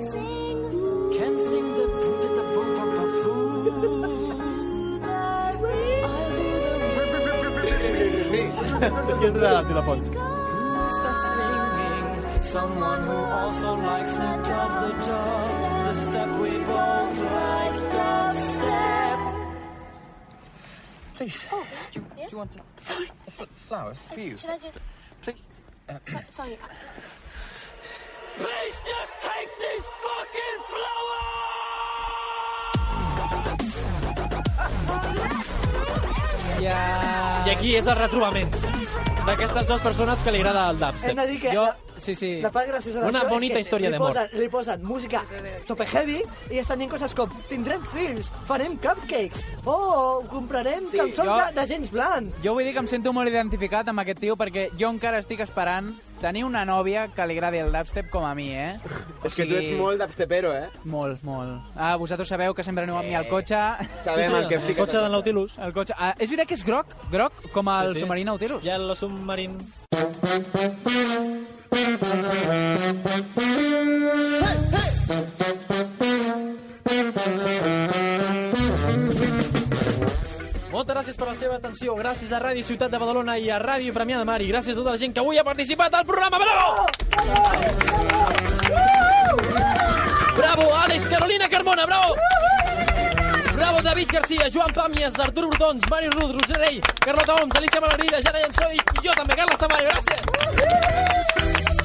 [SPEAKER 4] Can sing the the the boom boom boom
[SPEAKER 3] És que entra la Tila Pons.
[SPEAKER 4] Someone who also likes the dub, the dub, the step we both like, dub step. Please. Oh, do you, do you want to? Sorry. Flowers for you. Should I just? Please. sorry. Please just take these fucking
[SPEAKER 3] Ja... I aquí és el retrobament d'aquestes dues persones que li agrada el dubstep.
[SPEAKER 1] Hem de dir que
[SPEAKER 3] Jo...
[SPEAKER 1] la-
[SPEAKER 3] Sí, sí.
[SPEAKER 1] La part graciosa
[SPEAKER 3] Una
[SPEAKER 1] d'això és
[SPEAKER 3] bonita
[SPEAKER 1] que
[SPEAKER 3] història
[SPEAKER 1] li
[SPEAKER 3] d'amor.
[SPEAKER 1] posen- Li posen música tope heavy i estan dient coses com tindrem fills, farem cupcakes, o oh, comprarem sí, cançons
[SPEAKER 6] jo-
[SPEAKER 1] jo... de gens blanc.
[SPEAKER 6] Jo vull dir que em sento molt identificat amb aquest tio perquè jo encara estic esperant tenir una nòvia que li agradi el dubstep com a mi, eh?
[SPEAKER 10] És que tu ets molt dubstepero, eh?
[SPEAKER 6] Molt, molt. Ah, vosaltres sabeu que sempre aneu amb mi al cotxe.
[SPEAKER 10] Sabem el que
[SPEAKER 6] el
[SPEAKER 10] fiques.
[SPEAKER 6] cotxe del Nautilus. El cotxe... Ah, és veritat que és groc, groc, com el
[SPEAKER 3] sí.
[SPEAKER 6] submarí Nautilus.
[SPEAKER 3] Ja el submarín...
[SPEAKER 4] Oh,
[SPEAKER 3] Moltes gràcies per la seva atenció. Gràcies a Ràdio Ciutat de Badalona i a Ràdio Premià de Mar. I gràcies a tota la gent que avui ha participat al programa. Bravo! Bravo, Àlex, Carolina Carmona, bravo! Bravo, David Garcia, Joan Pàmies, Artur Brutons, Mari Rud, Roser Rey, Carlota Oms, Alicia Malagrida, Jana Llançó i jo també, Carles Tamayo, gràcies!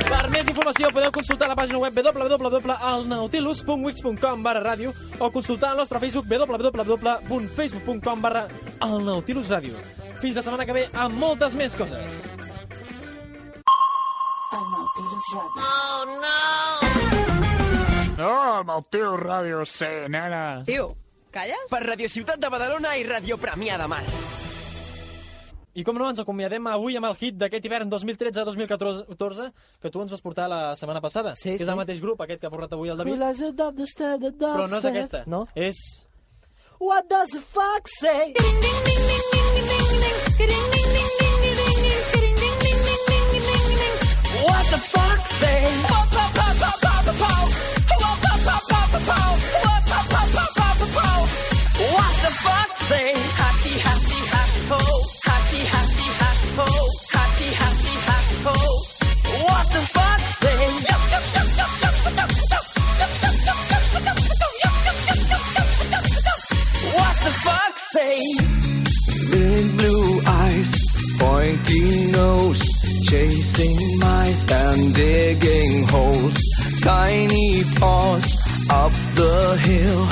[SPEAKER 3] Per més informació podeu consultar la pàgina web www.elnautilus.wix.com barra ràdio o consultar el nostre Facebook www.facebook.com barra elnautilusradio. Fins la setmana que ve amb moltes més coses.
[SPEAKER 7] No, amb el teu Ràdio C, nena.
[SPEAKER 2] Tio, calles?
[SPEAKER 15] Per Radio Ciutat de Badalona i Radio Premià de Mar.
[SPEAKER 3] I com no, ens acomiadem avui amb el hit d'aquest hivern 2013-2014 que tu ens vas portar la setmana passada, sí, que és
[SPEAKER 1] sí.
[SPEAKER 3] el mateix grup aquest que ha portat avui el
[SPEAKER 1] Who
[SPEAKER 3] David,
[SPEAKER 1] loves the dub, the step, the dub
[SPEAKER 3] però no és
[SPEAKER 1] step.
[SPEAKER 3] aquesta.
[SPEAKER 1] No?
[SPEAKER 3] És...
[SPEAKER 1] What does the fuck say?
[SPEAKER 4] What the fuck say? Pop, pop, pop, pop, pop, pop, pop. Pop, pop, pop, pop, pop, pop. Pop, pop, pop, pop, pop, pop, pop. What the fuck say? Happy, happy, happy, ho. Happy, happy, happy, ho. Happy, happy, happy, ho. What the fuck say? Yup, yup, yup, yup, yup, yup, yup, yup, yup, yup, yup, yup, yup, yup, yup, yup, yup, yup, yup, yup, yup. What the fuck say. Big blue eyes, pointy nose, chasing mice and digging holes. Tiny paws up the hill.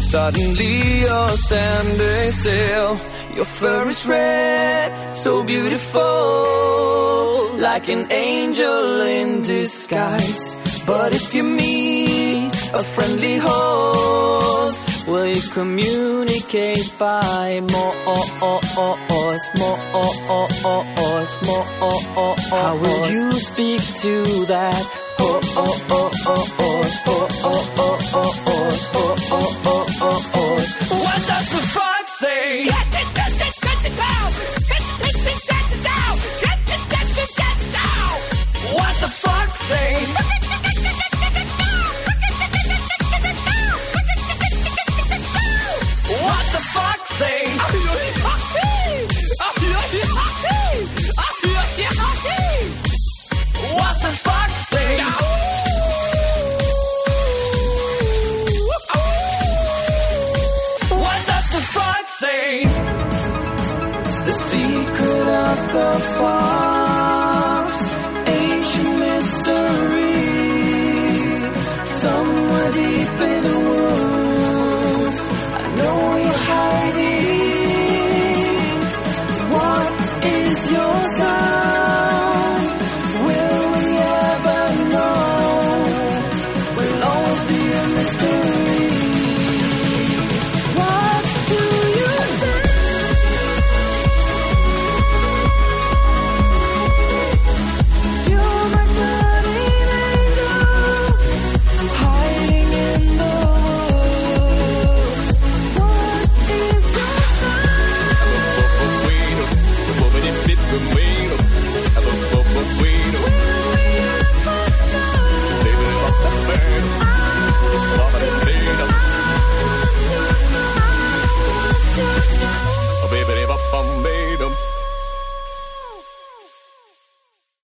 [SPEAKER 4] Suddenly you're standing still. Your fur is red, so beautiful, like an angel in disguise. But if you meet a friendly horse, will you communicate by more oh, more oh, more How will you speak to that? Oh, horse? oh, oh, What does the fox say? What the fox say? What the fuck say? What the fuck say? What does the fuck say? The secret of the fox.